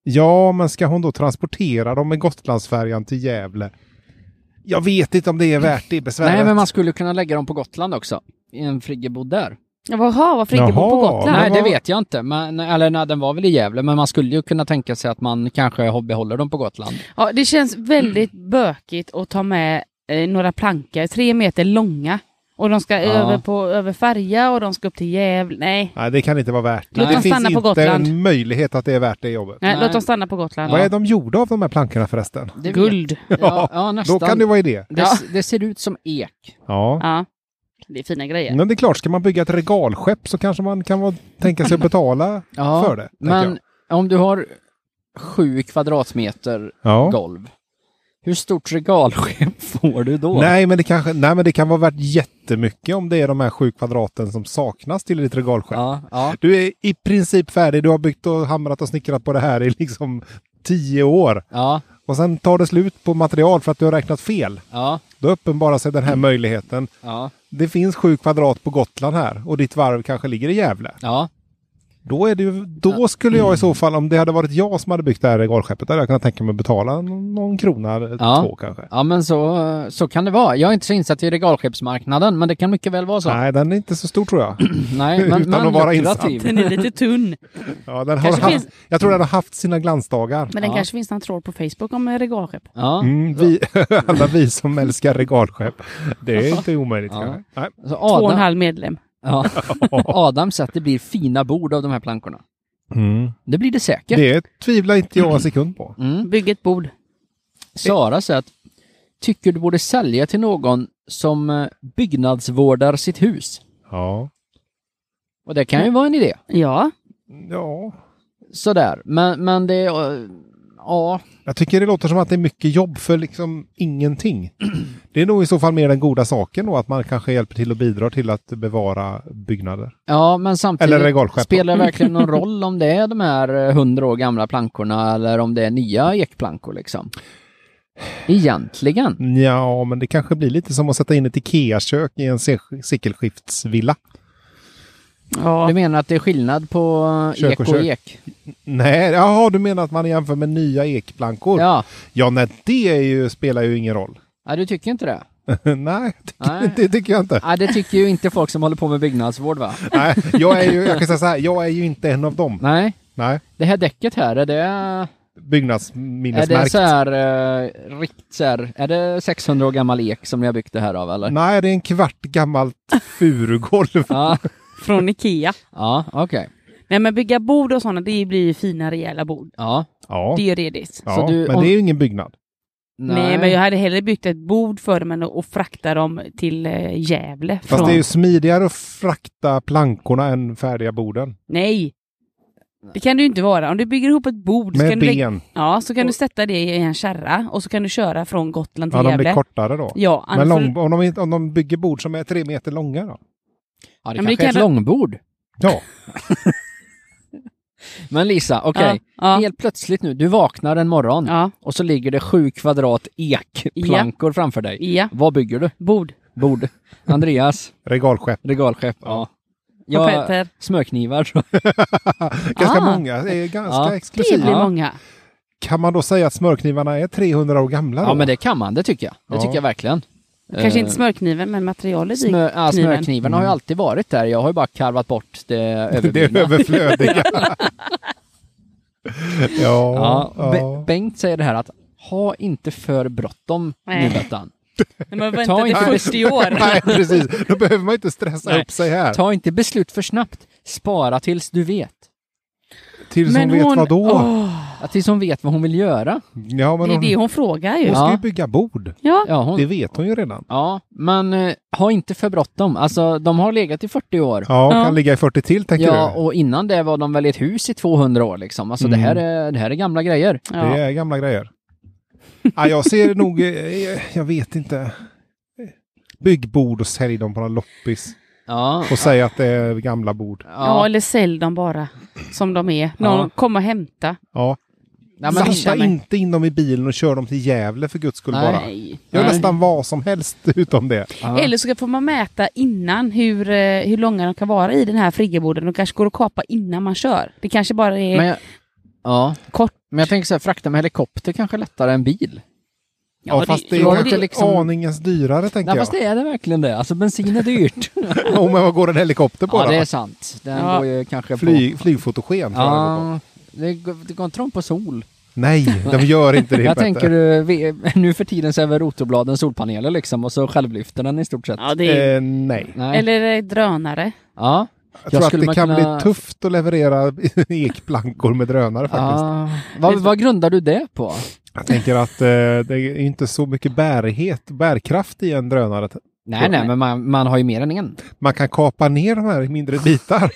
C: Ja, men ska hon då transportera dem med Gotlandsfärjan till Gävle? Jag vet inte om det är värt det besväret.
A: Nej, men man skulle kunna lägga dem på Gotland också. I en friggebod där.
B: Jaha, vad Friggebod på
C: Jaha,
B: Gotland?
A: Nej,
C: men
A: det
C: vad-
A: vet jag inte. Men, eller nej, den var väl i Gävle, men man skulle ju kunna tänka sig att man kanske behåller dem på Gotland.
B: Ja, det känns väldigt bökigt att ta med eh, några plankor, tre meter långa. Och de ska
A: Ja.
B: över, på, över färja och de ska upp till Gävle. Nej,
C: Nej, det kan inte vara värt det.
B: Låt
C: det
B: dem
C: finns
B: stanna på
C: inte
B: Gotland.
C: en möjlighet att det är värt det jobbet.
B: nej,
A: Nej.
B: låt dem stanna på Gotland.
C: Vad är de gjorda av de här plankorna förresten?
A: Det vet-
B: Guld.
A: Ja, ja nästan.
C: Då kan det vara idé.
A: det, s- det ser ut som ek.
C: Ja.
B: Ja. Det är fina grejer.
C: Men det är klart, ska man bygga ett regalskepp så kanske man kan vara, tänka sig att betala
A: Ja,
C: för det. tänker
A: Men
C: jag.
A: om du har sju kvadratmeter
C: Ja.
A: golv, hur stort regalskepp [laughs] får du då?
C: Nej, men det kanske, nej, men det kan vara värt jättemycket om det är de här sju kvadraten som saknas till ditt regalskepp.
A: Ja, ja.
C: Du är i princip färdig. Du har byggt och hamrat och snickrat på det här i liksom tio år.
A: Ja,
C: Och sen tar det slut på material för att du har räknat fel.
A: ja,
C: Då uppenbarar sig
A: Mm.
C: den här möjligheten.
A: ja,
C: Det finns sju kvadrat på Gotland här och ditt varv kanske ligger i Gävle.
A: ja.
C: Då, är det ju, då skulle jag i så fall, om det hade varit jag som hade byggt det här regalskeppet, hade jag kunnat tänka mig att betala någon någon krona eller
A: Ja.
C: två kanske.
A: Ja, men så, så kan det vara. Jag är inte så insatt i regalskeppsmarknaden, men det kan mycket väl vara så.
C: Nej, den är inte så stor tror jag.
A: Nej, men,
C: [laughs] Utan
A: men
C: att vara
B: [laughs]
A: lukrativ.
B: Den är lite tunn.
C: Ja, den har
B: Kanske
C: haft,
B: finns-
C: Jag tror den har haft sina glansdagar.
B: [laughs] Men den
A: Ja.
B: kanske finns någon tråd på Facebook om eh, regalskepp.
A: Ja.
C: Mm, vi, [laughs] alla vi som älskar regalskepp. Det är inte omöjligt.
A: Ja.
C: kanske. Nej.
B: Två
A: Alltså
B: och en
A: Adam,
B: halv medlem.
C: [laughs]
A: ja. Adam sa att det blir fina bord av de här plankorna. Det blir det säkert.
C: Det tvivlar inte jag en sekund på.
A: Mm.
B: Bygg ett bord.
A: Sara sa att tycker du borde sälja till någon som eh, byggnadsvårdar sitt hus.
C: Ja.
A: Och det kan ju vara en idé.
B: Ja.
C: ja.
A: Sådär. Men, men det... eh, Ja.
C: Jag tycker det låter som att det är mycket jobb för liksom ingenting. Det är nog i så fall mer den goda saken då, att man kanske hjälper till och bidrar till att bevara byggnader.
A: Ja, men samtidigt
C: Eller regalskepp.
A: spelar det
C: [laughs]
A: verkligen någon roll om det är de här eh, hundra år gamla plankorna eller om det är nya ekplankor liksom? Egentligen.
C: Ja, men det kanske blir lite som att sätta in ett Ikea-kök i en se- sekelskiftsvilla.
A: Du
B: ja.
A: menar att det är skillnad på eh,
C: Kök
A: ek
C: och
A: och
C: kök.
A: ek?
C: Nej, jaha, du menar att man jämför med nya ekplankor?
A: Ja.
C: ja nej, det är ju, spelar ju ingen roll. [laughs]
A: ja, du tycker inte det?
C: nej,
A: Nej.
C: det tycker jag inte.
A: Ja, det tycker ju inte folk som håller på med byggnadsvård va?
C: Nej, jag är ju, jag kan säga så här, jag är ju inte en av dem.
A: Nej.
C: Nej,
A: Det här däcket här, är det... Är det
C: byggnadsminnesmärkt.
A: så här, eh, rikt så här, är det 600 år gammal ek som ni har byggt det här av eller?
B: Mm.
C: Nej, det är en kvart gammalt furugolv.
A: Ja,
B: Från Ikea.
A: ja okej.
B: Nej men bygga bord och sådana, det blir ju fina rejäla bord.
A: Ja,
C: Ja,
B: Det är ju redigt.
C: ja
A: så du-
C: men
A: om-
C: det är ju ingen byggnad.
B: Nej. men jag hade hellre byggt ett bord för dem än att och frakta dem till eh, Gävle.
C: Fast
B: från-
C: det är ju smidigare att frakta plankorna än färdiga borden.
B: Nej! Det kan det ju inte vara. Om du bygger ihop ett bord så
C: Med
B: kan, du, lägga-
C: ben.
B: ja, så kan du sätta det i en kärra och så kan du köra från Gotland till
C: Ja, de
B: Gävle.
C: blir kortare då.
B: Ja,
C: Men
B: annars får
C: lång, om, de, inte- om de bygger bord som är tre meter långa då?
A: Ja, det
B: men
A: kanske
B: det
A: är ett
B: kan-
A: långbord.
C: Ja,
A: Men Lisa, okej.
B: Ja, ja,
A: Helt plötsligt nu, du vaknar en morgon
B: ja,
A: och så ligger det sju kvadrat ekplankor framför dig.
B: ja,
A: Vad bygger du?
B: bord.
A: Bord. Andreas,
C: regalskepp.
A: regalskepp. Ja.
B: Och
A: Jag,
B: Petter.
A: smörknivar. tror jag.
C: Ganska
B: Ah.
C: många, är ganska
A: Ja.
B: Det
C: exklusiva.
B: blir
A: Ja.
B: många.
C: Kan man då säga att smörknivarna är 300 år gamla då?
A: Ja, men det kan man, det tycker jag. Det
C: Ja.
A: tycker jag verkligen.
B: Kanske
A: Eh,
B: inte smörkniven, men materialet i.
A: smör, ja,
B: kniven.
A: smörkniven har ju alltid varit där. Jag har ju bara karvat bort det
C: Mm. [laughs] det är
A: överblivna. [laughs]
C: överflödiga. [laughs] ja,
A: Ja, Be-
C: ja.
A: Bengt säger det här att ha inte för bråttom nu
B: Nej.
A: Bettan.
B: Men man
A: Ta
B: väntar i
A: inte- [laughs]
B: 40 år.
C: Nej, precis. Då behöver man inte stressa
A: Nej.
C: upp sig här.
A: Ta inte beslut för snabbt. Spara tills du vet.
C: Tills hon vet vad då?
B: Åh,
A: Ja, tills hon vet vad hon vill göra.
C: Ja, men
B: det är
C: hon,
B: det hon frågar ju.
C: hon
B: Ja.
C: ska
A: Ja.
C: ju bygga bord.
A: Ja, hon,
C: Det vet hon ju redan.
A: ja men eh, ha inte för bråttom. Alltså, de har legat i 40 år.
C: Ja, hon
B: Ja.
C: kan ligga i 40 till tänker
A: Ja,
C: du.
A: och innan det var de väl i ett hus i 200 år liksom. Alltså det,
C: Mm.
A: här är, det här är gamla grejer.
B: Ja.
C: Det är gamla grejer. ja, jag ser nog, eh, jag vet inte. Bygg bord och sälj dem på någon loppis.
A: Ja.
C: Och säga att det är gamla bord.
B: Ja. eller sälj dem bara som de är. Någon
A: Ja.
B: kommer hämta.
C: Ja.
A: Nej, men,
C: Satsa
B: mig.
C: inte in dem i bilen och kör dem till Gävle för guds skull
A: Nej.
C: bara.
B: Nej.
C: Gör
A: Nej.
C: nästan vad som helst utom det.
A: ja.
B: Eller så får man mäta innan hur, eh, hur långa de kan vara i den här friggeboden. De kanske går att kapa innan man kör. Det kanske bara är
A: Men jag, ja.
B: kort.
A: Men jag tänker så här, frakta med helikopter kanske är lättare än bil.
C: Ja, fast det
A: var
C: är
A: inte
C: kanske
A: liksom-
C: aningens dyrare tänker
A: Nej, fast
C: jag.
A: det är det verkligen det. Alltså bensin är dyrt.
C: [laughs] Om men vad går en helikopter på
A: ja,
C: då?
A: det är sant. Den
B: Ja.
A: går ju kanske
C: Fly, flygfotogen
A: på...
C: tror jag det går på.
A: Ja, det går, det går inte de på sol.
C: Nej, de gör inte det
A: [laughs] jag
C: Petter.
A: tänker eh, vi- [laughs] nu för tiden så är väl rotorbladen solpaneler liksom och så självlyfter den i stort sett.
B: Ja, det är...
C: Eh, nej.
A: Nej.
B: Eller eh, drönare.
A: Ja.
C: Jag tror att
A: skulle
C: det
A: man
C: kan
A: kunna-
C: bli tufft att leverera [laughs] ekplankor med drönare faktiskt.
A: ja. Vad, vad grundar du det på?
C: Jag tänker att eh, det är inte så mycket bärighet, bärkraft i en drönare.
A: Nej, nej, men man, man har ju mer än en.
C: Man kan kapa ner de här i mindre bitar.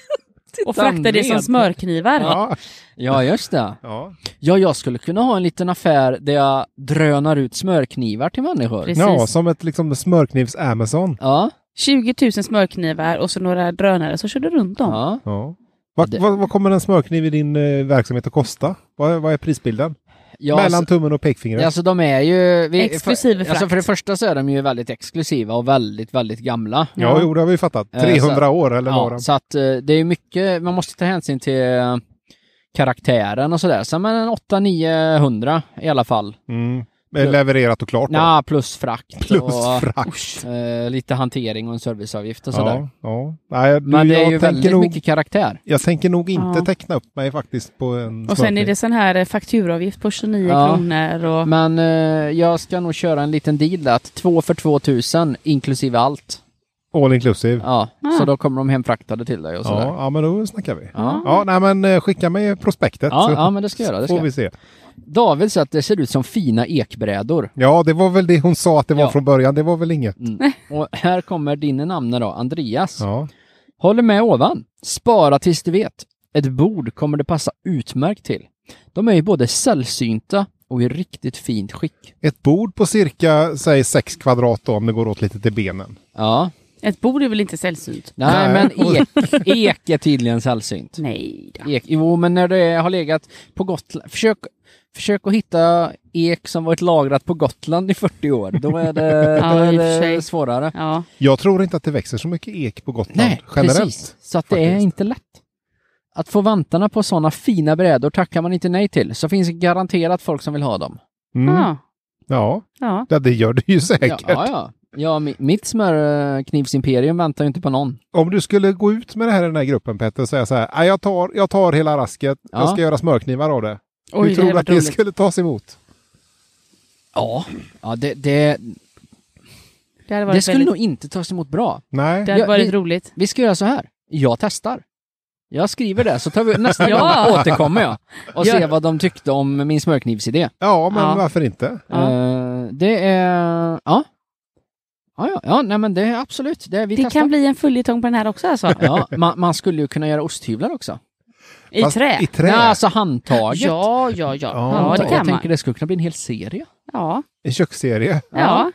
B: Och frakta det som
A: med.
B: smörknivar.
C: Ja.
A: [laughs] Ja, just det.
C: Ja.
A: Ja, jag skulle kunna ha en liten affär där jag drönar ut smörknivar till människor.
B: Precis.
C: ja, som ett liksom, smörknivs-Amazon.
A: Ja,
B: 20 000 smörknivar och så några drönare så kör du runt dem.
A: ja.
C: Ja. Vad,
A: Det-
C: vad, vad kommer en smörkniv i din eh, verksamhet att kosta? Vad, vad är prisbilden?
A: ja
C: Mellan
A: alltså-
C: tummen och pekfingret?
A: Alltså de är ju... vi-
B: Exklusive
A: för,
B: frakt.
A: alltså, för det första så är de ju väldigt exklusiva och väldigt, väldigt gamla.
C: ja, jo, det har vi ju fattat.
A: Eh,
C: 300
A: så-
C: år eller några.
A: Ja, så att eh, det är mycket, man måste ta hänsyn till eh, karaktären och sådär. Så men 800-900 i alla fall.
C: Mm. Men Levererat och klart då.
A: Nja, plus frakt
C: Plus
A: och
C: frakt.
A: eh, lite hantering och en serviceavgift och sådär.
C: Ja, ja. Nej, du,
A: Men det är
C: jag,
A: ju
C: tänker
A: väldigt
C: nog,
A: mycket karaktär.
C: jag tänker nog inte
B: Ja.
C: teckna upp mig faktiskt på en
B: Och sen är det sån här eh, fakturaavgift på 29
A: Ja.
B: kronor. Och...
A: Men eh, jag ska nog köra en liten deal där, att två för 2000 inklusive allt.
C: All inclusive.
A: Ja,
B: Ah.
A: så då kommer de hemfraktade till dig och sådär.
C: Ja, ja, men då snackar vi.
A: Ja.
C: Ja, nej, men eh, skicka mig prospektet
A: Ja,
C: så
A: ja, men det ska jag göra, det ska
C: får
A: jag.
C: vi se.
A: David säger att det ser ut som fina ekbrädor.
C: Ja, det var väl det hon sa att det var
A: Ja.
C: från början. Det var väl inget.
A: Och här kommer din namn då, Andreas.
C: Ja.
A: Håller med ovan. Spara tills du vet. Ett bord kommer det passa utmärkt till. De är ju både sällsynta och i riktigt fint skick.
C: Ett bord på cirka, säg sex kvadrat då, om det går åt lite till benen.
A: Ja.
B: Ett bord är väl inte sällsynt?
C: Nej.
A: Nej,
C: [laughs]
A: men ek, ek är tydligen sällsynt.
B: Nej. då.
A: Ek, jo, men när det har legat på Gotland. Försök, försök att hitta ek som varit lagrat på Gotland i 40 år. Då
B: [laughs]
A: är det,
B: Ja,
A: då
B: i
A: är
B: och för sig.
A: det svårare.
B: Ja.
C: Jag tror inte att det växer så mycket ek på Gotland
A: Nej,
C: generellt.
A: precis. Så att det är
C: faktiskt.
A: inte lätt. Att få vantarna på sådana fina brädor tackar man inte nej till, så finns garanterat folk som vill ha dem.
C: Mm. Ja.
B: ja. Ja.
C: ja, det gör det ju
A: Ah. Ja,
C: [laughs] säkert.
A: ja, ja. ja mi- mitt smörknivsimperium väntar ju inte på någon.
C: Om du skulle gå ut med det här i den här gruppen Petter och säga så här, "Nej, jag tar, jag tar hela rasket, jag
A: Ja.
C: ska göra smörknivar av det.
B: Oj,
C: Hur
B: det
C: tror
B: hade
C: du att
B: varit
C: det
B: roligt.
C: skulle tas emot?
A: Ja, ja det, det,
B: Det hade
A: det
B: varit,
A: skulle
B: väldigt...
A: nog inte tas emot bra.
C: Nej.
B: det hade
A: Ja,
B: varit
A: det-
B: roligt.
A: Vi ska göra så här. Jag testar. Jag skriver det, så tar vi nästa [laughs]
B: Ja.
A: gång återkommer jag och
B: Ja.
A: ser vad de tyckte om min smörknivsidé.
C: Ja, men
B: Ja.
C: varför inte?
B: Ja.
A: Eh, det är... Ja. Ja, ja, ja, nej men det är absolut. Det, vi
B: det
A: testar.
B: kan bli en följetong på den här också alltså.
A: Ja, man, man skulle ju kunna göra osthyvlar också.
B: I
C: Fast
B: trä.
C: I trä.
A: Nej, alltså handtaget.
B: Ja, ja, ja.
C: Ja,
B: Ja, det
A: jag
B: kan man.
A: tänker det skulle kunna bli en hel serie.
B: Ja.
C: En köksserie.
B: ja.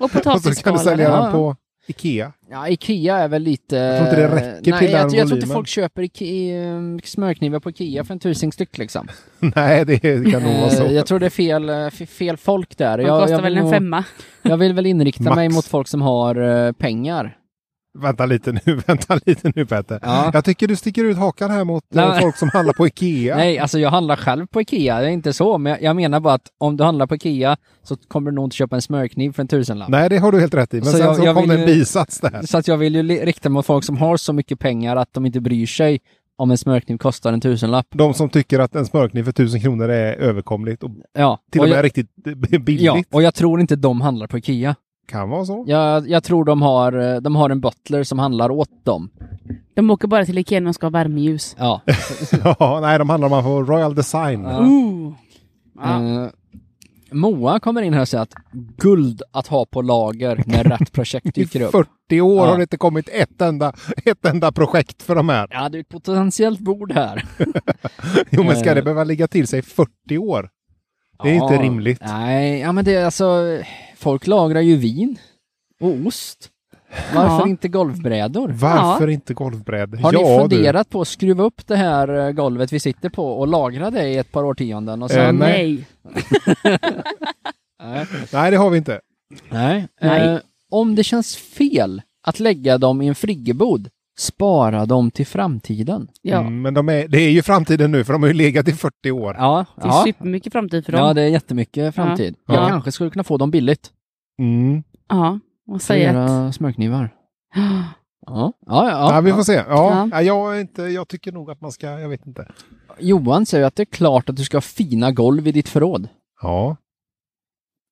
B: Och
C: Och [laughs] så kan du
B: potatisskalare.
C: sälja
A: Ja.
C: den på Ikea. [laughs]
A: Ja, Ikea är väl lite... Jag
C: tror inte det räcker
A: Nej,
C: till den
A: jag, jag tror inte
C: volymen.
A: folk köper Ike- eh, smörknivar på Ikea för en tusing styck liksom.
C: Nej, det alltså. kan nog vara
A: Eh,
C: så.
A: Jag tror det är fel, eh, f- fel folk där.
B: De
A: jag,
B: kostar
A: jag vill
B: väl en
A: nog-
B: femma.
A: Jag vill väl inrikta mig
C: Max.
A: mot folk som har eh, pengar.
C: Vänta lite nu, [laughs] vänta lite nu Petter.
A: Ja.
C: Jag tycker du sticker ut hakan här mot eh,
A: Nej.
C: folk som handlar på Ikea.
A: Nej, alltså jag handlar själv på Ikea, det är inte så, men jag, jag menar bara att om du handlar på Ikea så kommer du nog inte köpa en smörkniv för en tusenlapp.
C: Nej, det har du helt rätt i. Men
A: Så
C: sen
A: jag-
C: så
A: jag
C: kom det
A: vill
C: en
A: ju-
C: bisats där.
A: Så att jag vill ju li- rikta mig mot folk som har så mycket pengar att de inte bryr sig om en smörkniv kostar en tusenlapp.
C: De som tycker att en smörkniv för 1000 kronor är överkomligt och
A: Ja,
C: till och,
A: och
C: med
A: jag,
C: riktigt eh, billigt.
A: ja, och jag tror inte de handlar på Ikea.
C: Kan vara så.
A: Jag, jag tror de har, eh, de har en butler som handlar åt dem.
B: De åker bara till Ikea när de ska ha värmeljus.
A: Ja.
C: [laughs] Ja, nej, de handlar man på Royal Design.
A: Ja.
B: Ooh. Uh. Ja.
A: Eh, Moa kommer in här och säger att guld att ha på lager när
C: [laughs]
A: rätt projekt
C: I
A: dyker upp.
C: 40 år
A: Ja.
C: har det inte kommit ett enda, [laughs] ett enda projekt för de här.
A: Ja, det är ett potentiellt bord här.
C: Jo, men ska
A: Eh.
C: det behöva ligga till sig i 40 år? Det är
A: Ja.
C: inte rimligt.
A: Nej, ja men det är alltså, folk lagrar ju vin och ost. Varför
B: Ja.
A: inte golvbrädor?
C: Varför inte golvbrädor?
A: Har
C: Ja,
A: ni
C: du.
A: funderat på att skruva upp det här eh, golvet vi sitter på och lagra det i ett par årtionden? Och
C: Eh,
A: sen,
C: nej.
B: Nej.
C: Eh,
A: nej.
C: Nej, det har vi inte.
A: nej.
B: Nej.
A: Eh, om det känns fel att lägga dem i en friggebod, spara dem till framtiden.
B: Ja.
C: Mm, men de är, det är ju framtiden nu, för de har ju legat i 40 år.
A: Ja,
B: Det är
A: ja.
B: supermycket framtid för dem.
A: ja
B: Ja,
A: det är jättemycket framtid.
C: Ja.
A: Jag
B: Ja.
A: kanske skulle kunna få dem billigt.
C: Mm.
B: och
A: För att
B: säga att...
A: göra smörknivar. Ja, ja, ja.
C: Ja, vi får se. Ja.
B: Ja.
C: Ja. Jag, är inte, jag tycker nog att man ska, jag vet inte.
A: Johan säger att det är klart att du ska ha fina golv i ditt förråd.
C: Ja,
B: [gasps]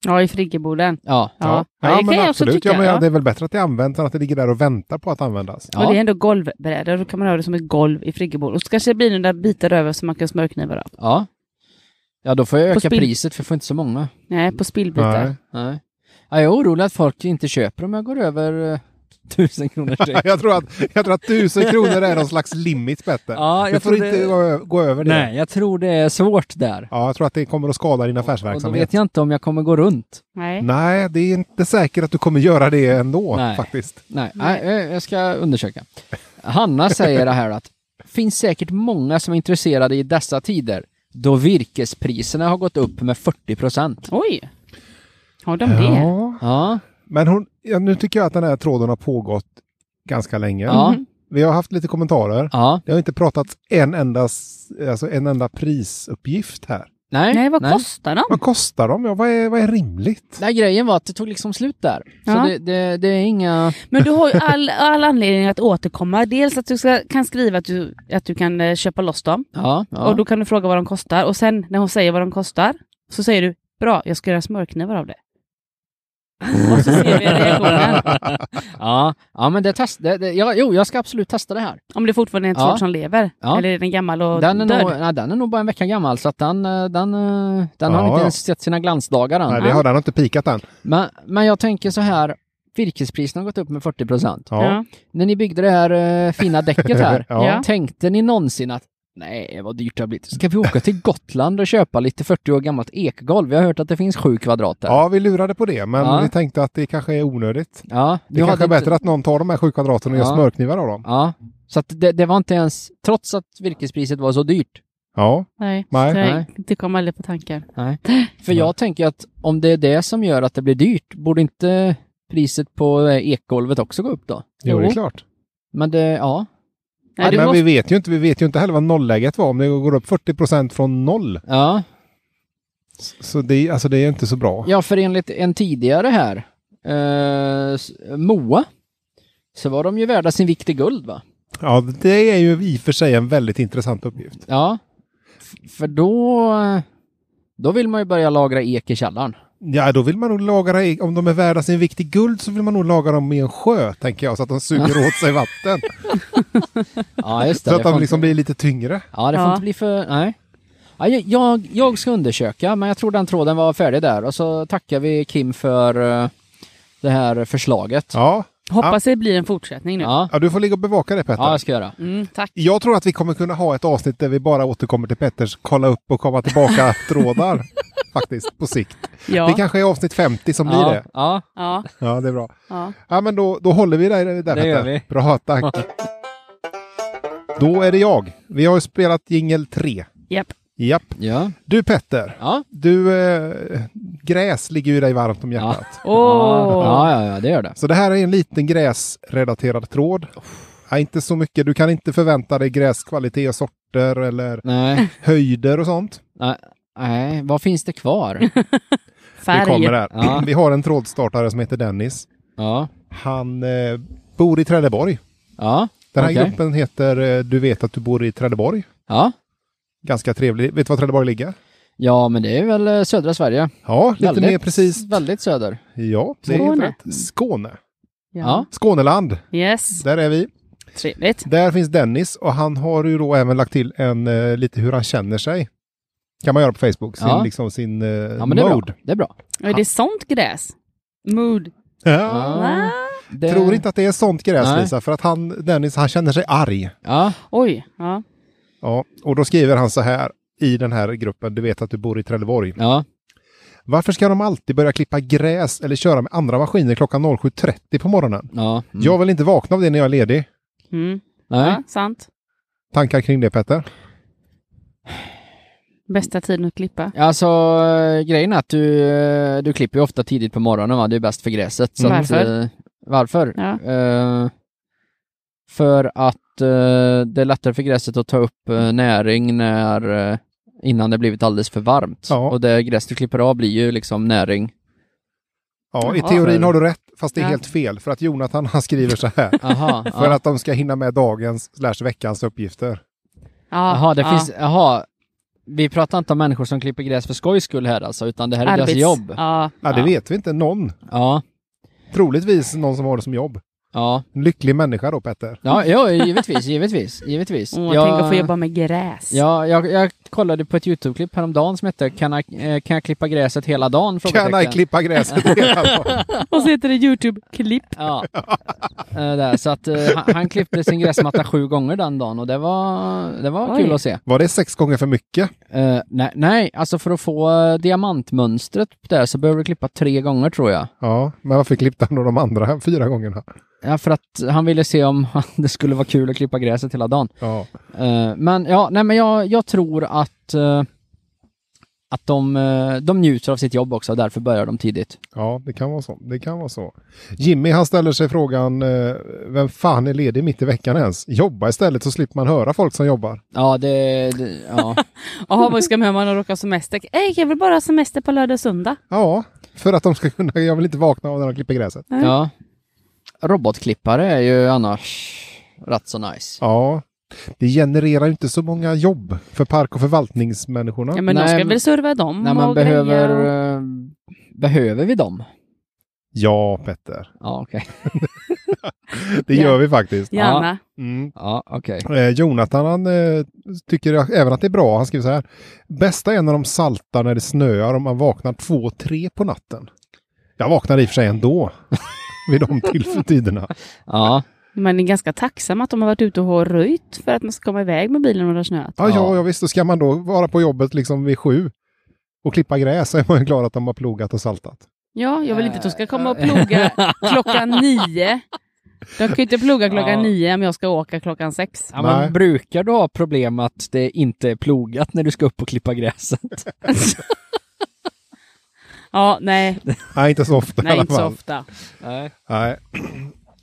B: Ja, i friggeboden.
A: Ja.
B: Ja,
C: ja,
B: Ja, det
C: men
B: kan jag också
C: absolut.
B: tycka.
C: ja, men ja,
B: ja.
C: det är väl bättre att det används än att det ligger där och väntar på att användas.
B: Och det är
A: Ja,
B: ändå golvbrädor, då kan man ha det som ett golv i friggeboden. Och så kanske det blir några bitar över som man kan smörknivar av.
A: ja. ja då får jag
B: På
A: öka
B: spill-
A: priset för jag får inte så många.
B: Nej, på spillbitar.
C: Nej.
A: Nej. Ja, jag är orolig att folk inte köper om jag går över eh, [laughs] tusen kronor streck.
C: [laughs] Jag tror, att, jag tror att tusen kronor är någon slags limit, Petter.
A: Ja,
C: du
A: jag
C: får
A: tror
C: inte
A: det-
C: gå ö- gå över det.
A: Nej, jag tror det är svårt där.
C: Ja, jag tror att det kommer att skada din
A: Och då
C: affärsverksamhet.
A: vet jag inte om jag kommer gå runt.
B: Nej.
C: Nej, det är inte säkert att du kommer göra det ändå
A: Nej.
C: faktiskt.
A: Nej,
B: Nej.
A: Nej. Jag, jag ska undersöka. Hanna säger det här att finns säkert många som är intresserade i dessa tider då virkespriserna har gått upp med 40 procent.
B: Oj! Har de det?
A: Ja,
C: Men hon, ja, nu tycker jag att den här tråden har pågått ganska länge.
A: ja, Mm.
B: Mhm.
C: Vi har haft lite kommentarer.
A: ja.
C: Det har inte pratats en enda, s- alltså en enda prisuppgift här.
A: Nej,
B: Nej, vad kostar de?
C: Vad kostar de? Ja, vad, är, vad är rimligt?
A: Nej, grejen var att det tog liksom slut där. Så
B: Ja.
A: det, det, det är inga...
B: Men du har ju all, all anledning att återkomma. Dels att du ska, kan skriva att du, att du kan eh, köpa loss dem.
A: Ja, ja.
B: Och då kan du fråga vad de kostar. Och sen när hon säger vad de kostar, så säger du bra, jag ska göra smörknivar av det.
A: Mm.
B: Och så ser vi reaktionen.
A: [laughs] ja, ja, men det test, det, det, ja, jo, jag ska absolut testa det här.
B: Om det fortfarande är en
A: Ja.
B: tråd som lever.
A: Ja.
B: Eller är den gammal och
A: Den är,
B: död.
A: nog, nej, den är nog bara en vecka gammal, så att den, eh, den, eh, den har
C: Ja,
A: inte
C: ja.
A: ens sett sina glansdagar än.
C: Nej, det har den inte pikat än.
A: Men, men jag tänker så här, virkespriserna har gått upp med 40 procent.
C: Ja.
B: Ja.
A: När ni byggde det här eh, fina däcket [laughs] här,
C: [laughs] Ja.
B: Ja.
A: tänkte ni någonsin att nej, vad dyrt det har blivit. Ska vi åka till Gotland och köpa lite 40 år gammalt ekgolv? Jag har hört att det finns sju kvadrat där.
C: ja, vi lurade på det, men
A: Ja.
C: vi tänkte att det kanske är onödigt.
A: ja
C: Det
A: du
C: kanske är
A: hade
C: bättre
A: inte-
C: att någon tar de här sju kvadraten och
A: Ja.
C: gör smörknivar av dem.
A: Ja, så att det, det var inte ens, trots att virkespriset var så dyrt.
C: Ja,
B: Nej,
C: Nej.
B: Nej.
A: Nej.
B: det kom aldrig på tanken.
A: För jag tänker att om det är det som gör att det blir dyrt, borde inte priset på eh, ekgolvet också gå upp då?
C: jo, det är
B: Jo.
C: klart.
A: Men det, ja.
B: Nej, du
A: det
C: men vi
B: måste,
C: vet ju inte, vi vet ju inte heller vad nollläget var. Om det går upp 40 procent från noll,
A: Ja,
C: så det, alltså det är inte så bra.
A: ja för enligt en tidigare här, eh, s- Moa, så var de ju värda sin vikt i guld va?
C: Ja, det är ju i och för sig en väldigt intressant uppgift.
A: Ja. F- För då, eh, då vill man ju börja lagra ek i källaren.
C: Ja, då vill man nog lagra, i- om de är värda sin vikt i guld så vill man nog lagra dem i en sjö, tänker jag, så att de suger åt sig
A: [laughs]
C: vatten.
A: Ja, just det.
C: så
A: det
C: att de
A: får
C: liksom
A: inte-
C: blir lite tyngre.
A: Ja, det får
B: Ja.
A: inte bli för... Nej. Ja, jag- jag, jag ska undersöka, men jag tror den tråden var färdig där. Och så tackar vi Kim för eh, det här förslaget.
C: Ja,
B: hoppas det blir en fortsättning nu.
A: Ja,
C: ja du får ligga och bevaka det Petter.
A: ja jag ska göra.
B: Mm, tack.
C: Jag tror att vi kommer kunna ha ett avsnitt där vi bara återkommer till Petters kolla upp och komma
A: [laughs]
C: tillbaka trådar. Faktiskt, på sikt. Det
B: Ja.
C: kanske är avsnitt 50 som blir
A: ja,
C: det.
A: Ja,
B: Ja.
C: Ja, det är bra.
B: Ja.
C: Ja, men då, då håller vi dig där. där
A: Det gör
C: Petter.
A: vi.
C: Bra, tack. då är det jag. Vi har ju spelat jingel 3.
B: Japp.
C: Japp.
A: ja,
C: Du Petter,
A: ja.
C: du, eh, gräs ligger ju dig varmt om hjärtat.
B: Åh!
A: Ja, ja, ja, det gör det.
C: Så det här är en liten gräsrelaterad tråd. Ja, inte så mycket. Du kan inte förvänta dig gräskvalitet och sorter eller
A: Nej,
B: [laughs]
C: höjder och sånt.
A: nej, nej, vad finns det kvar?
C: Det kommer
B: Färg.
C: där.
A: Ja.
C: Vi har en trådstartare som heter Dennis.
A: Ja,
C: Han eh, bor i Trelleborg.
A: ja,
C: Den här
A: Okej.
C: gruppen heter eh, Du vet att du bor i Trelleborg.
A: ja.
C: Ganska trevlig. Vet du var Trelleborg ligger?
A: Ja, men det är väl eh, södra Sverige.
C: Ja, lite
A: Väldigt-
C: mer precis.
A: Väldigt söder.
C: Ja, det är helt
B: Skåne.
C: rätt. Skåne.
A: Ja.
C: Skåneland.
B: Yes.
C: Där är vi.
B: Trevligt.
C: Där finns Dennis och han har ju då även lagt till en eh, lite hur han känner sig. Kan man göra på Facebook, sin,
A: Ja.
C: liksom sin eh,
A: Ja, men det är
C: mode.
A: bra. Det är bra.
B: Ja, det är sånt gräs. Mood.
C: Ja.
B: Va?
A: Det,
C: Tror inte att det är sånt gräs
A: Nej.
C: Lisa, för att han, Dennis, han känner sig arg.
A: Ja,
B: Oj. Ja.
C: Ja, och då skriver han så här i den här gruppen, du vet att du bor i Trelleborg.
A: ja,
C: Varför ska de alltid börja klippa gräs eller köra med andra maskiner klockan 07.30 på morgonen?
A: Ja. Mm.
C: Jag vill inte vakna av det när jag är ledig.
B: Mm.
A: Nej.
B: Ja, sant.
C: Tankar kring det Petter?
B: Bästa tiden att klippa.
A: Alltså eh, grejen är att du, eh, du klipper ju ofta tidigt på morgonen va, det är bäst för gräset. Så Att,
B: Varför?
A: eh, varför?
B: Ja.
A: Eh, för att eh, det är lättare för gräset att ta upp eh, näring när, eh, innan det blivit alldeles för varmt.
C: Ja.
A: Och det gräs du klipper av blir ju liksom näring.
C: Ja, i
B: Ja.
C: teorin har du rätt, fast det är
B: Ja.
C: helt fel. För att Jonathan han skriver så här.
A: [laughs] Aha,
C: För
A: ja.
C: att de ska hinna med dagens slash veckans uppgifter.
B: Ja,
A: Jaha, det
B: ja.
A: finns, jaha. Vi pratar inte om människor som klipper gräs för skojs skull här alltså, utan det här är
B: Arbets-
A: deras jobb.
B: Ja.
C: Ja, det
A: Ja.
C: vet vi inte. Någon.
A: Ja,
C: Troligtvis någon som har det som jobb.
A: ja,
C: En lycklig människa då, Petter.
A: ja, ja givetvis, givetvis, givetvis.
B: Åh, Tänk att få jobba med gräs.
A: ja, jag, jag kollade på ett YouTube-klipp häromdagen som hette kan jag, eh, kan jag klippa gräset hela dagen?
C: Kan jag
A: Frågetecken.
C: klippa gräset
A: [laughs]
C: hela dagen?
B: Och så heter det Youtube-klipp.
A: Ja. Eh, där, så att eh, han, han klippte sin gräsmatta sju gånger den dagen och det var, det var
B: Oj.
A: kul att se.
C: Var det sex gånger för mycket?
A: Eh, nej, nej, alltså för att få eh, diamantmönstret där så behöver du klippa tre gånger tror jag.
C: Ja, men varför klippte han då de andra [laughs] fyra gångerna?
A: Ja, för att han ville se om [laughs] det skulle vara kul att klippa gräset hela dagen.
C: Ja,
A: Eh, men ja, nej men jag, jag tror att eh, att de, eh, de njuter av sitt jobb också, därför börjar de tidigt.
C: ja det, kan vara så. det kan vara så. Jimmy han ställer sig frågan, eh, vem fan är ledig mitt i veckan ens? Jobba istället så slipper man höra folk som jobbar.
A: Ja, det... det ja.
B: Jaha, vad ska man göra om man råkar ha semester? Ej, jag vill bara ha semester på lördag och söndag.
C: Ja, för att de ska kunna, jag vill inte vakna av när de klipper gräset.
A: [laughs] ja. Robotklippare är ju annars rätt så nice.
C: Ja, det genererar ju inte så många jobb för park och förvaltningsmänniskorna.
B: Ja, men
A: Nej,
B: de ska
A: men-
B: väl serva dem
A: Nej, men
B: och
A: behöver,
B: greja och-
A: eh, behöver vi dem?
C: Ja, Petter,
A: Ja, okej.
C: det
B: Ja.
C: gör vi faktiskt.
B: Gärna.
C: Mm.
A: Ja, okej.
C: Eh, Jonathan han, eh, tycker att- även att det är bra. Han skriver så här. Bästa är när de saltar när det snöar och man vaknar två, tre på natten. Jag vaknar i och för sig ändå. [laughs] vid de tillfällena.
A: Ja.
B: Man är ganska tacksam att de har varit ute och har röjt för att man ska komma iväg med bilen och det har snöat.
C: Ja, ja, ja, visst. Då ska man då vara på jobbet liksom vid sju och klippa gräs så är man ju glad att de har plogat och saltat.
B: Ja, jag vill inte att de ska komma och ploga klockan nio. De kan ju inte ploga klockan
A: Ja.
B: nio om jag ska åka klockan sex. [laughs]
A: Ja, men
C: Nej.
A: brukar du ha problem att det inte är plogat när du ska upp och klippa gräset?
B: Ja, nej,
C: Nej, inte så ofta i
B: nej
C: alla
B: inte så
C: fall.
B: ofta.
A: [laughs] Nej.
C: Nej. [clears throat]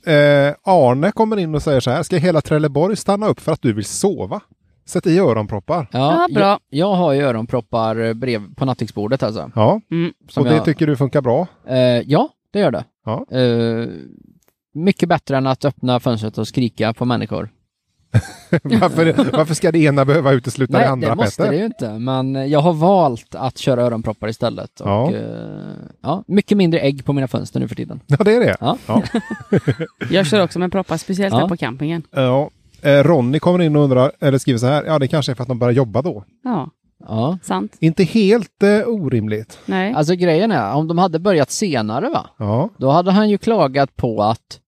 C: Eh, Arne kommer in och säger så här. Ska hela Trelleborg stanna upp för att du vill sova? Sätt i öronproppar.
A: Ja,
B: Ja, bra.
A: Jag, jag har ju öronproppar eh, brev på nattduksbordet alltså.
C: Ja,
B: Mm.
A: Som
C: och det
A: jag,
C: tycker du funkar bra.
A: eh, ja, det gör det.
C: Ja. [laughs]
A: Eh, mycket bättre än att öppna fönstret och skrika på människor.
C: varför, varför ska det ena behöva utesluta det andra,
A: det måste
C: Petter?
A: det ju inte, men jag har valt att köra öronproppar istället. Och,
C: Ja.
A: eh, ja, mycket mindre ägg på mina fönster nu för tiden.
C: Ja, det är det.
A: Ja.
B: Jag kör också med proppar, speciellt
A: Ja.
B: här på campingen.
C: Ja. Eh, Ronny kommer in och undrar, eller skriver så här, ja det kanske är för att de börjar jobba då.
B: Ja,
A: Ja.
B: sant.
C: Inte helt eh, orimligt.
B: Nej.
A: Alltså grejen är, om de hade börjat senare va,
C: Ja,
A: då hade han ju klagat på att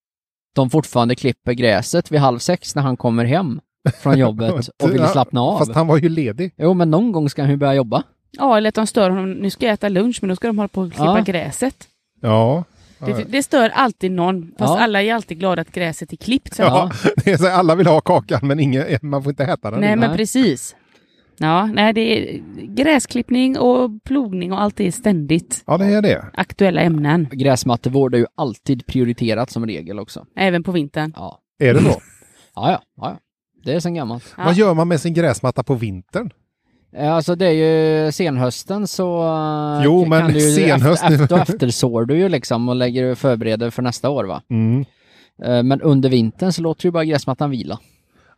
A: de fortfarande klipper gräset vid halv sex när han kommer hem från jobbet
C: [laughs]
A: och vill
C: Ja,
A: slappna av.
C: fast han var ju ledig.
A: Jo, men någon gång ska han ju börja jobba.
B: Ja, eller att de stör honom. Nu ska jag äta lunch, men då ska de hålla på och klippa
A: Ja.
B: gräset.
C: Ja.
B: Det, det stör alltid någon, fast
A: Ja.
B: alla är alltid glada att gräset är klippt. Så.
C: Ja, [laughs] det är så här, alla vill ha kakan men ingen, man får inte äta den.
B: Nej, men
A: Nej.
B: precis. Ja, nej, det är gräsklippning och plogning och allt det är ständigt
C: Ja, det är det.
B: aktuella ämnen,
A: Gräsmattevård är ju alltid prioriterat som regel också.
B: även på vintern.
A: Ja,
C: Är det så?
A: ja, ja. ja. Det är sen gammalt.
B: Ja.
C: Vad gör man med sin gräsmatta på vintern?
A: Eh, Alltså det är ju senhösten så eh,
C: Jo, men
A: du ju
C: senhöst-
A: efter, efter, och eftersår du ju liksom och lägger förbereder för nästa år va.
C: Mm.
A: Eh, Men under vintern så låter du bara gräsmattan vila.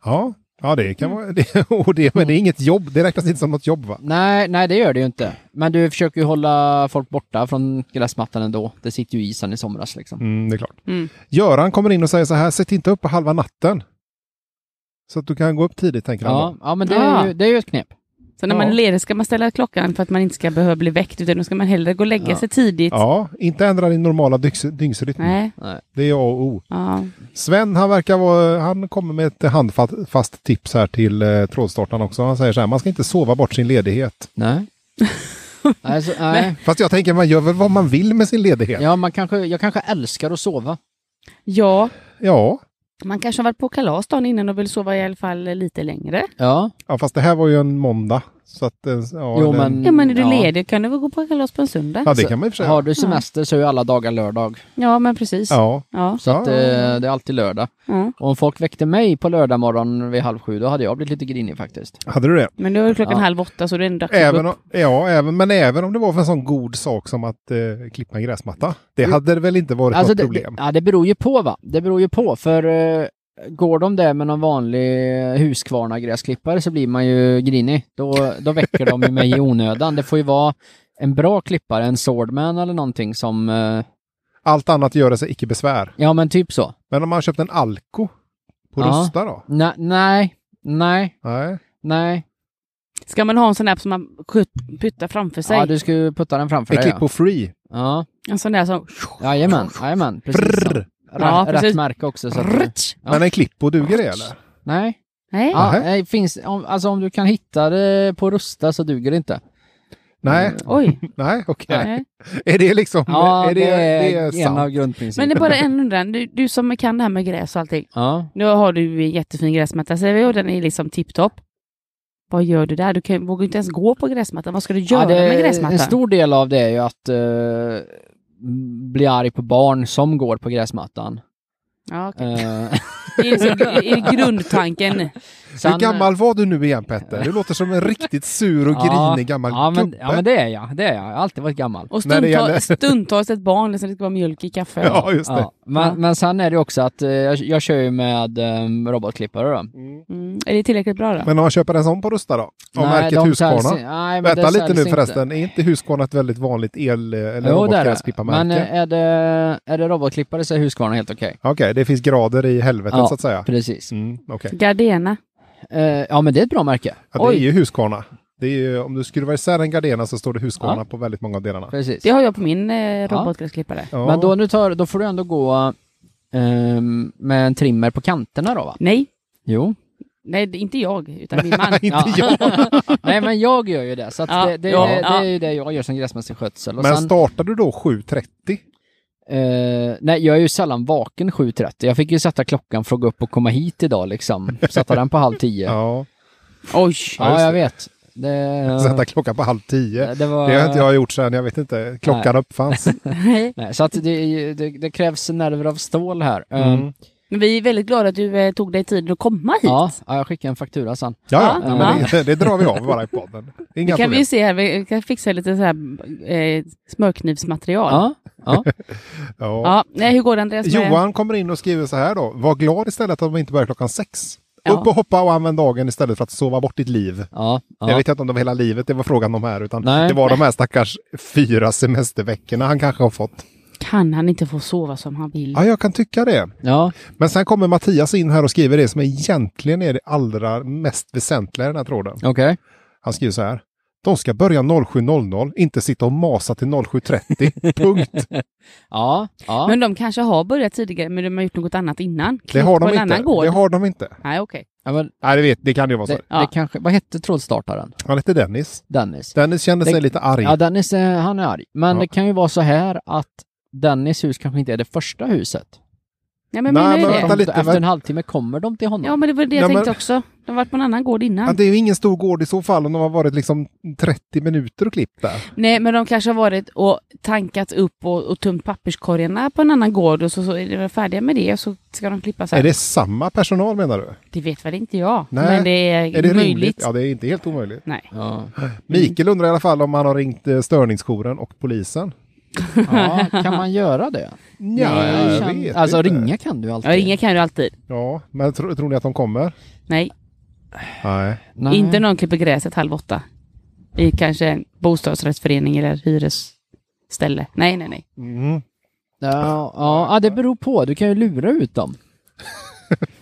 C: Ja, ja det kan vara [laughs] det. Och det, men det är inget jobb. Det räknas inte som något jobb va?
A: Nej, nej det gör det ju inte. Men du försöker ju hålla folk borta från gräsmattan ändå. Det sitter ju i sen i somras liksom.
C: Mm, det är klart.
B: Mm.
C: Göran kommer in och säger så här, sätt inte upp på halva natten. Så att du kan gå upp tidigt tänker han. då.
A: Ja, ja men det är,
B: Ja.
A: ju, det är ju ett knep.
B: Så när
C: Ja.
B: man är ledig ska man ställa klockan för att man inte ska behöva bli väckt, utan då ska man hellre gå och lägga
A: Ja.
B: sig tidigt.
C: Ja, inte ändra din normala dyks- dygnsrytm.
B: Nej,
C: Det är A och O.
B: ja.
C: Sven, han verkar vara, han kommer med ett handfast fast tips här till eh, trådstartaren också. Han säger så här, man ska inte sova bort sin ledighet.
A: [laughs] Nej. Alltså, nej.
C: Fast jag tänker, man gör väl vad man vill med sin ledighet? Ja.
A: Ja, man kanske, jag kanske älskar att sova.
B: Ja, man kanske har varit på kalas dagen innan och vill sova i alla fall lite längre.
A: Ja,
C: ja, fast det här var ju en måndag. Så att, eh, ja,
A: jo
C: den-
A: men...
B: Ja, men är du
A: ja.
B: ledig kan du väl gå på kalas på en söndag?
C: Ja, det kan man i och för sig.
A: Har du semester så är ju alla dagar lördag.
B: Ja, men precis. Ja.
C: Ja,
B: Ja.
A: Så att,
C: Ja.
A: eh, det är alltid lördag.
B: Ja.
A: Och om folk väckte mig på lördag morgon vid halv sju, då hade jag blivit lite grinig faktiskt.
C: hade du det?
B: Men nu är det klockan
A: Ja.
B: halv åtta så det är ändå dags att
C: Även
B: gå
C: om,
B: upp.
C: ja, även, men även om det var för en sån god sak som att eh, klippa en gräsmatta. Det hade det väl inte varit
A: Mm. Alltså,
C: något
A: det, det,
C: problem?
A: ja, det beror ju på va. Det beror ju på, för eh, går de där med någon vanlig Husqvarna-gräsklippare så blir man ju grinig. Då, då väcker de ju mig i onödan. Det får ju vara en bra klippare, en swordman eller någonting som... Eh,
C: Allt annat göra sig icke besvär.
A: ja, men typ så.
C: Men om man köpt en Alko på
A: Ja.
C: Rusta då?
A: Nej, nej, nej,
C: Nej.
A: nej.
B: Ska man ha en sån där som man skjut- puttar framför sig?
A: Ja, du ska ju putta den framför
C: En
A: dig.
C: klipp på free.
A: ja. ja.
B: En sån där som...
A: Jajamän, jajamän. Precis så.
C: Brrr.
A: Rätt,
B: Ja, precis.
A: rätt märke också. Så att,
B: Rutsch!
A: Ja.
C: Men en klipp på duger det eller?
A: nej.
B: Nej.
A: Ja,
C: Nähä.
A: nej finns, om, alltså om du kan hitta det på Rusta så duger det inte.
C: Nej,
B: Oj.
C: nej, okej.
B: Nej.
C: Är det liksom,
A: Mm. Ja,
C: är det, det är
A: en
C: sant?
A: av
B: Men
A: grundprinciperna.
B: det är bara en undran. Du, du som kan det här med gräs och allting.
A: Ja.
B: Nu har du ju en jättefin gräsmatta säger vi och den är liksom tipptopp. Vad gör du där? Du kan, vågar ju inte ens gå på gräsmattan. Vad ska du göra
A: ja, det,
B: med
A: en
B: gräsmattan?
A: stor del av det är ju att eh, bli arg på barn som går på gräsmattan.
B: Ja,
C: [laughs]
B: okej.
A: Eh,
B: Det är liksom, det är grundtanken.
A: sen-
C: Hur gammal var du nu igen Petter? Du låter som en riktigt sur och
A: [laughs] Ja,
C: grinig gammal
A: ja, men,
C: gubbe.
A: ja, men det är jag. Det är jag. Jag har alltid varit gammal.
B: Och
C: När det
B: stundtals,
C: gäller-
B: stundtals ett barn, liksom, det ska vara mjölk i kaffe.
C: [laughs] Ja, just det.
A: Ja, men,
B: Ja.
A: men sen är det också att eh, jag, jag kör ju med eh, robotklippare då.
B: Mm. Är det tillräckligt bra då?
C: Men om man köper en sån på Rusta då? Av märket
A: de
C: Husqvarna?
A: säljs i- nej, men
C: Vänta
A: det
C: lite nu
A: säljs inte.
C: förresten, är inte Husqvarna ett väldigt vanligt el eh, eller
A: Jo, det är det.
C: robotgräsklipparmärke?
A: Men eh, är det, är det robotklippare så är Husqvarna helt okej.
C: Okej, det finns grader i helvetet
A: Ja.
C: så att säga.
A: Precis.
C: Mm, okej.
B: Gardena.
A: Eh, ja, men det är ett bra märke.
C: ja, det
B: Oj.
C: är ju Husqvarna. Det är ju, om du skruvar isär en gardena så står det Husqvarna
A: Ja.
C: på väldigt många av delarna.
A: Precis.
B: Det har jag på min eh, robotgräsklippare.
C: Ja.
A: Men då, nu tar, då får du ändå gå ehm, med en trimmer på kanterna då va?
B: Nej,
A: Jo.
B: nej, det är inte jag, utan min man.
C: Inte
A: Ja. [laughs] Nej, men jag gör ju det. Så att
B: Ja,
A: det, det,
B: ja,
A: det,
B: ja.
A: är ju det jag gör som gräsmästarskötsel. Och
C: Men
A: sen,
C: startar du då 7.30?
A: eh, nej, jag är ju sällan vaken 7.30. Jag fick ju sätta klockan för att gå upp och komma hit idag liksom. Sätta den på halv tio. Ja,
C: Ja.
B: Oj!
C: just
A: jag
C: det.
A: vet. Det,
C: Sätta klockan på halv tio.
A: det var...
C: Det har inte jag gjort sedan, jag vet inte. Klockan uppfanns.
B: [laughs] Nej.
A: Nej, så att det, är ju- det, det krävs nerver av stål här. Ehm,
C: Mm.
B: Men vi är väldigt glada att du eh, tog dig tiden att komma hit.
A: ja, ja, jag skickar en faktura sen.
C: Ja, ja.
B: Ja.
C: Men det, det drar vi av bara i podden.
B: Det
C: Inga
B: kan vi
C: problem.
B: ju se här, vi kan fixa lite så här eh, smörknivsmaterial. Ja.
A: Ja, ja.
C: [laughs] Ja.
B: nej, hur går det Andreas? med-
C: Johan kommer in och skriver så här då. Var glad istället att de inte börjar klockan sex.
B: Ja.
C: Upp och hoppa och använd dagen istället för att sova bort ditt liv.
A: ja,
C: Jag
A: ja.
C: vet inte om det var hela livet det var frågan om här, utan
A: Nej.
C: det var de här stackars fyra semesterveckorna han kanske har fått.
B: Kan han inte få sova som han vill?
C: Ja, jag kan tycka det.
A: ja.
C: Men sen kommer Mattias in här och skriver det som egentligen är det allra mest väsentliga i den här tråden.
A: okej.
C: Han skriver så här. De ska börja 07.00, inte sitta och masa till 07.30.
B: [laughs]
C: Punkt.
A: Ja, ja.
B: Men de kanske har börjat tidigare, men de har gjort något annat innan.
C: Det
B: på
C: har de
B: en
C: inte.
B: annan gård.
C: Det har de inte.
B: Nej, okej.
A: ja men
C: Nej, det, vet, det kan ju vara så.
A: det,
B: Ja.
A: det kanske, vad hette trådstartaren?
C: Han heter Dennis.
A: Dennis.
C: Dennis känner
A: Det-
C: sig lite arg.
A: Ja, Dennis, eh, han är arg. Men
C: Ja.
A: det kan ju vara så här att Dennis hus kanske inte är det första huset.
B: Nej, men
C: Nej,
B: menar
C: men
B: jag
C: vänta
B: det?
A: Om-
C: lite,
A: Efter
C: men-
A: en halvtimme kommer de till honom.
B: Ja, men det var det jag
C: Nej,
B: tänkte
C: men-
B: också. De har varit på en annan gård innan.
C: Ja, det är ju ingen stor gård i så fall om de har varit liksom 30 minuter och klippt där.
B: Nej, men de kanske har varit och tankat upp och, och tömt papperskorgarna på en annan gård och så, så är de färdiga med det och så ska de klippa så här.
C: Är det samma personal menar du?
B: Det vet väl inte jag.
C: Nej.
B: Men det är,
C: Är det
B: möjligt.
C: rimligt? Ja, det är inte helt omöjligt.
B: Nej.
A: Ja,
C: Mikael undrar i alla fall om han har ringt eh, störningsjouren och polisen.
A: ja kan man göra det?
C: Ja,
B: Nej,
C: jag
A: Kan-
C: vet
A: alltså
C: inte.
A: ringa kan du
B: Ja,
A: alltid.
B: ringa kan du alltid.
C: Ja, men tro, tror ni att de kommer?
B: Nej,
C: Nej.
A: [laughs] Nej.
B: inte någon klipper gräset halv åtta. I kanske en bostadsrättsförening eller hyresställe. Nej, nej, nej.
C: Mm.
A: Ja, ja, ja, det beror på. Du kan ju lura ut dem.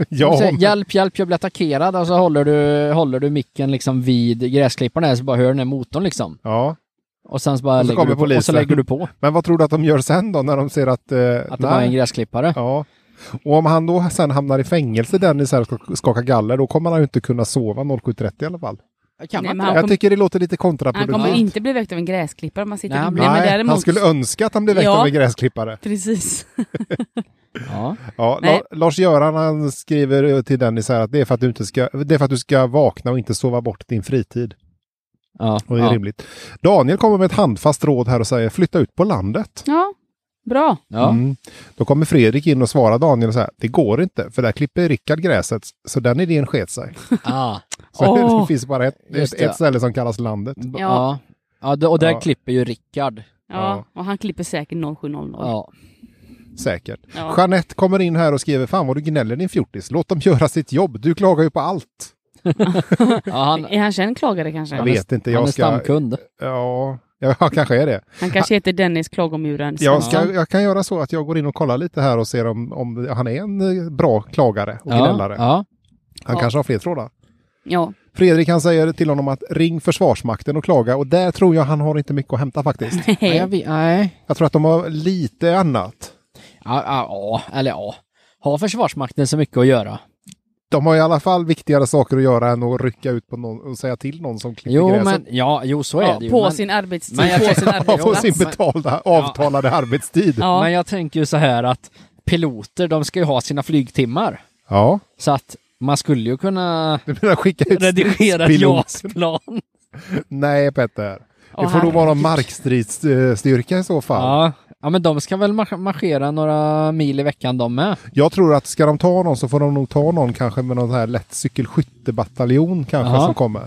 C: Ja,
A: Säg,
C: men-
A: hjälp, hjälp, jag blir attackerad. Och så håller du, håller du micken liksom vid gräsklipparen här, så bara hör den här motorn liksom.
C: ja.
A: Och sen så bara
C: Och så
A: lägger,
C: kommer
A: du på, och så
C: polisen.
A: lägger du på.
C: Men vad tror du att de gör sen då när de ser att... Eh,
A: Att det
C: nej.
A: var en gräsklippare.
C: Ja. Och om han då sen hamnar i fängelse, Dennis, här och ska skaka galler, då kommer han ju inte kunna sova 07.30 i alla fall.
A: Kan
B: Nej,
A: man
B: men
A: inte
B: han
C: Jag
B: kom-
C: tycker det låter lite
B: Han kommer
C: kontraproduktivt.
B: inte bli väckt av en gräsklippare om man sitter
A: Nej, han
B: inne.
A: blir-
B: men
C: Nej,
B: däremot-
C: han skulle önska att han blev väckt
B: Ja.
C: av en gräsklippare.
A: [laughs]
B: Precis.
A: det? Ja.
C: Ja,
B: Nej.
C: La- Lars-Göran han skriver eh, till Dennis här att det är, för att du inte ska, det är för att du ska vakna och inte sova bort din fritid.
A: Ja.
C: Och det är
A: ja.
C: rimligt. Daniel kommer med ett handfast råd här och säger flytta ut på landet.
B: Ja, bra.
A: ja.
C: Mm. Då kommer Fredrik in och svarar Daniel så här, det går inte för där klipper Rickard gräset så den idén sket sig.
A: Ah.
C: Så
B: Åh.
C: [laughs] det finns bara ett, ett,
A: Just det.
C: ett ställe som kallas landet.
A: B-
B: Ja.
A: Ja. ja. d- och där
C: Ja.
A: klipper ju Rickard.
B: Ja,
C: Ja.
B: och han klipper säkert 0700.
A: Ja.
C: Säkert.
B: Ja.
C: Jeanette kommer in här och skriver, fan vad du gnäller din fjortis, låt dem göra sitt jobb, du klagar ju på allt.
A: ja han,
B: Är han känd klagare kanske?
C: Jag vet inte,
A: han är
C: jag ska...
A: stamkund.
C: Ja, ja, [laughs] kanske är det.
B: Han kanske heter Dennis Klagomuren.
C: Jag,
B: Svensson.
C: ska, jag kan göra så att jag går in och kollar lite här och ser om, om han är en eh, bra klagare och gnällare.
A: Ja.
C: Han
B: Ja.
C: kanske har fler trådar.
B: Ja.
C: Fredrik han säger till honom att ring Försvarsmakten och klaga och där tror jag han har inte mycket att hämta faktiskt.
A: [laughs] Ja. Nej, jag
B: Hej.
A: vet, nej.
C: Jag tror att de har lite annat.
A: Ja, ja, ja, eller ja. Har Försvarsmakten så mycket att göra?
C: De har i alla fall viktigare saker att göra än att rycka ut på någon och säga till någon som klipper
A: Jo,
C: gräset.
A: men ja, jo, så är
B: Ja,
A: det ju.
B: på
A: men,
B: sin arbetstid,
A: Men jag
B: på
A: tänkte-
B: sin
C: Ja, [laughs] på
B: arbetsplats.
C: sin betalda, avtalade arbetstid. Ja.
B: Ja.
A: men jag tänker ju så här att piloter, de ska ju ha sina flygtimmar. Så att man skulle ju kunna
C: Du menar skicka ut
A: redigera ett
C: pilot?
A: JAS-plan.
C: Nej, Petter. Det
B: Åh,
C: får nog
B: herregud.
C: vara någon markstridsstyrka i så fall.
A: Ja. ja, men de ska väl mar- marschera några mil i veckan de med.
C: Jag tror att ska de ta någon så får de nog ta någon kanske med någon sån här lätt cykelskyttebataljon kanske
A: Ja.
C: som kommer.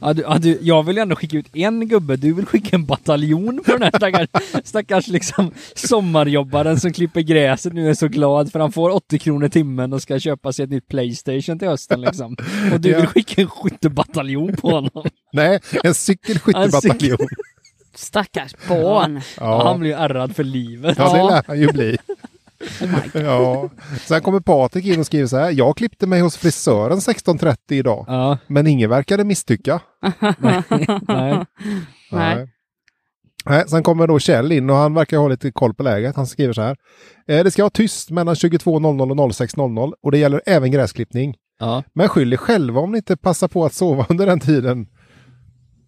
A: Ja, du, ja, du, jag vill ju ändå skicka ut en gubbe, du vill skicka en bataljon på den här
C: [laughs]
A: stackars, stackars liksom sommarjobbaren som klipper gräset nu är så glad för han får 80 kronor timmen och ska köpa sig ett nytt Playstation till hösten liksom. Och du
C: Ja.
A: vill skicka en skyttebataljon på honom.
C: Nej, en cykelskyttebataljon.
B: Stackars barn.
A: Han
C: Ja.
A: blir ju ärrad för livet.
C: ja, det lär han ju bli. ja. Sen kommer Patrik in och skriver så här. Jag klippte mig hos frisören 16.30 idag,
A: Ja,
C: men ingen verkade misstycka.
B: [laughs]
A: nej.
B: Nej.
C: Nej, sen kommer då Kjell in och han verkar ha lite koll på läget. Han skriver så här. "Eh, Det ska vara tyst mellan 22.00 och 06.00 och det gäller även gräsklippning.
A: Ja.
C: Men skyll er själva om ni inte passar på att sova [laughs] under den tiden.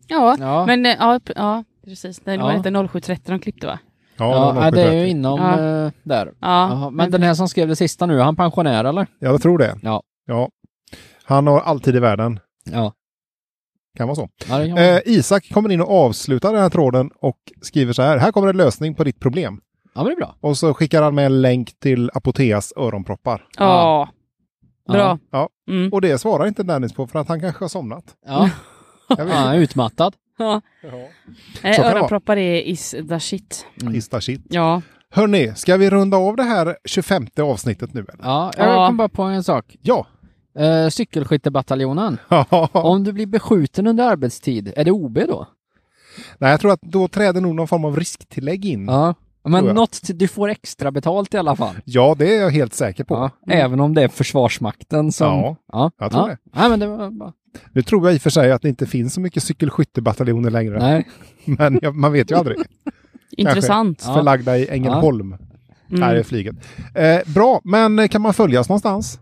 B: Ja.
A: Ja.
B: men eh, ja, p- ja precis. Det var
A: Ja.
B: inte 07.30 de klippte va?
A: Ja,
C: någon
A: ja, det är ju
C: 7.30.
A: inom
B: Ja.
A: eh, där.
B: Ja.
A: Jaha, men den här som skrev det sista nu, är han pensionär eller?
C: Ja, jag tror det.
A: Ja.
C: ja. Han har alltid i världen.
A: Ja.
C: Kan vara så.
A: ja det kan man-
C: Eh, Isak kommer in och avslutar den här tråden och skriver så här. Här kommer en lösning på ditt problem.
A: ja, men det är bra.
C: Och så skickar han med en länk till Apoteas öronproppar.
B: Ja.
A: Ja.
B: Bra.
C: Ja.
B: Mm.
C: Och det svarar inte Dennis på för att han kanske har somnat. [laughs]
A: Ja, [laughs]
C: Jag
A: ja han är
C: vet
A: utmattad.
B: Ja.
C: inte.
B: Eh,
C: Så kan det
B: Öronproppar är is the shit.
C: Ja. Is that shit.
B: Ja.
C: Hörni, ska vi runda av det här 25 avsnittet nu? Eller?
A: Ja, jag
B: Ja.
A: kom bara på en sak.
C: Ja.
A: Eh, cykelskyttebataljonen. Om du blir beskjuten under arbetstid, är det OB då?
C: [laughs] Nej, jag tror att då träder nog någon form av risktillägg in. Ja,
A: Ja. Men
C: Tror jag.
A: något, du får extra betalt i alla fall.
C: det är jag helt säker på.
A: Ja. Även om det är Försvarsmakten som...
C: Ja,
A: ja.
C: jag tror
A: ja.
C: det.
A: Nej, men det var bara...
C: Nu tror jag i och för sig att det inte finns så mycket cykelskyttebataljoner längre.
A: Nej.
C: [laughs] Men jag, man vet ju aldrig.
B: Intressant.
A: [laughs] Ja.
C: Förlagda i Ängelholm. Där är
B: Mm.
C: flyget. Eh, bra, men eh, kan man följas någonstans?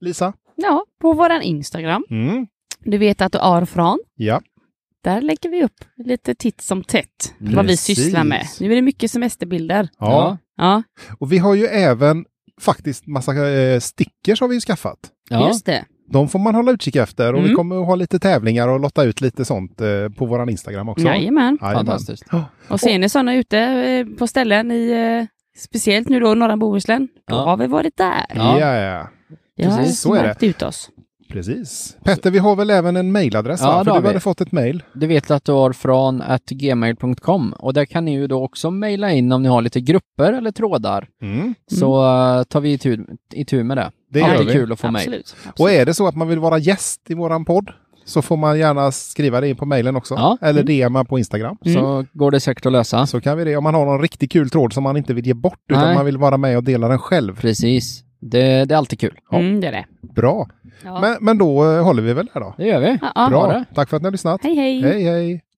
C: Lisa?
B: Ja, på våran Instagram.
C: Mm.
B: Du vet att du är från.
C: Ja.
B: Där lägger vi upp lite titt som tätt vad vi
C: Precis.
B: sysslar med. Nu är det mycket semesterbilder.
C: ja.
B: Ja,
C: Och vi har ju även faktiskt massa eh, stickers har vi ju skaffat.
A: Ja.
B: just det.
C: De får man hålla utkik efter och vi
B: Mm.
C: kommer att ha lite tävlingar och lotta ut lite sånt eh, på våran Instagram också.
B: Jajamän.
C: Jajamän.
A: Fantastiskt.
B: Och ser ni sådana ute eh, på ställen i eh, speciellt nu då norra Bohuslän, då
A: Ja.
B: har vi varit där.
C: Ja,
A: Ja.
C: ja, ja.
B: Jag har
C: precis, så är det.
B: märkt ut oss.
C: Precis. Petter, vi har väl även en mailadress?
A: Ja,
C: va?
A: det
C: För
A: har
C: du hade
A: vi.
C: fått ett mail.
A: Du vet att du har från at gmail.com och där kan ni ju då också mejla in om ni har lite grupper eller trådar.
C: Mm.
A: Så eh, tar vi itu, itu med det.
C: Det gör
A: Alltid
C: vi.
A: kul att få mejl.
B: Absolut.
C: Och är det så att man vill vara gäst i våran podd så får man gärna skriva det in på mailen också.
A: Ja. Mm.
C: Eller DMa på Instagram.
A: Så går det säkert att lösa.
C: Så kan vi det. Om man har någon riktigt kul tråd som man inte vill ge bort utan
A: Nej.
C: man vill vara med och dela den själv.
A: Precis. Det, det är alltid kul.
B: Mm, det är det.
C: Bra.
B: Ja.
C: Men, men då eh, håller vi väl där då.
A: Det gör vi.
B: Ja, ja.
C: Bra.
A: Ha det.
C: Tack för att ni har lyssnat.
B: hej.
C: Hej, hej.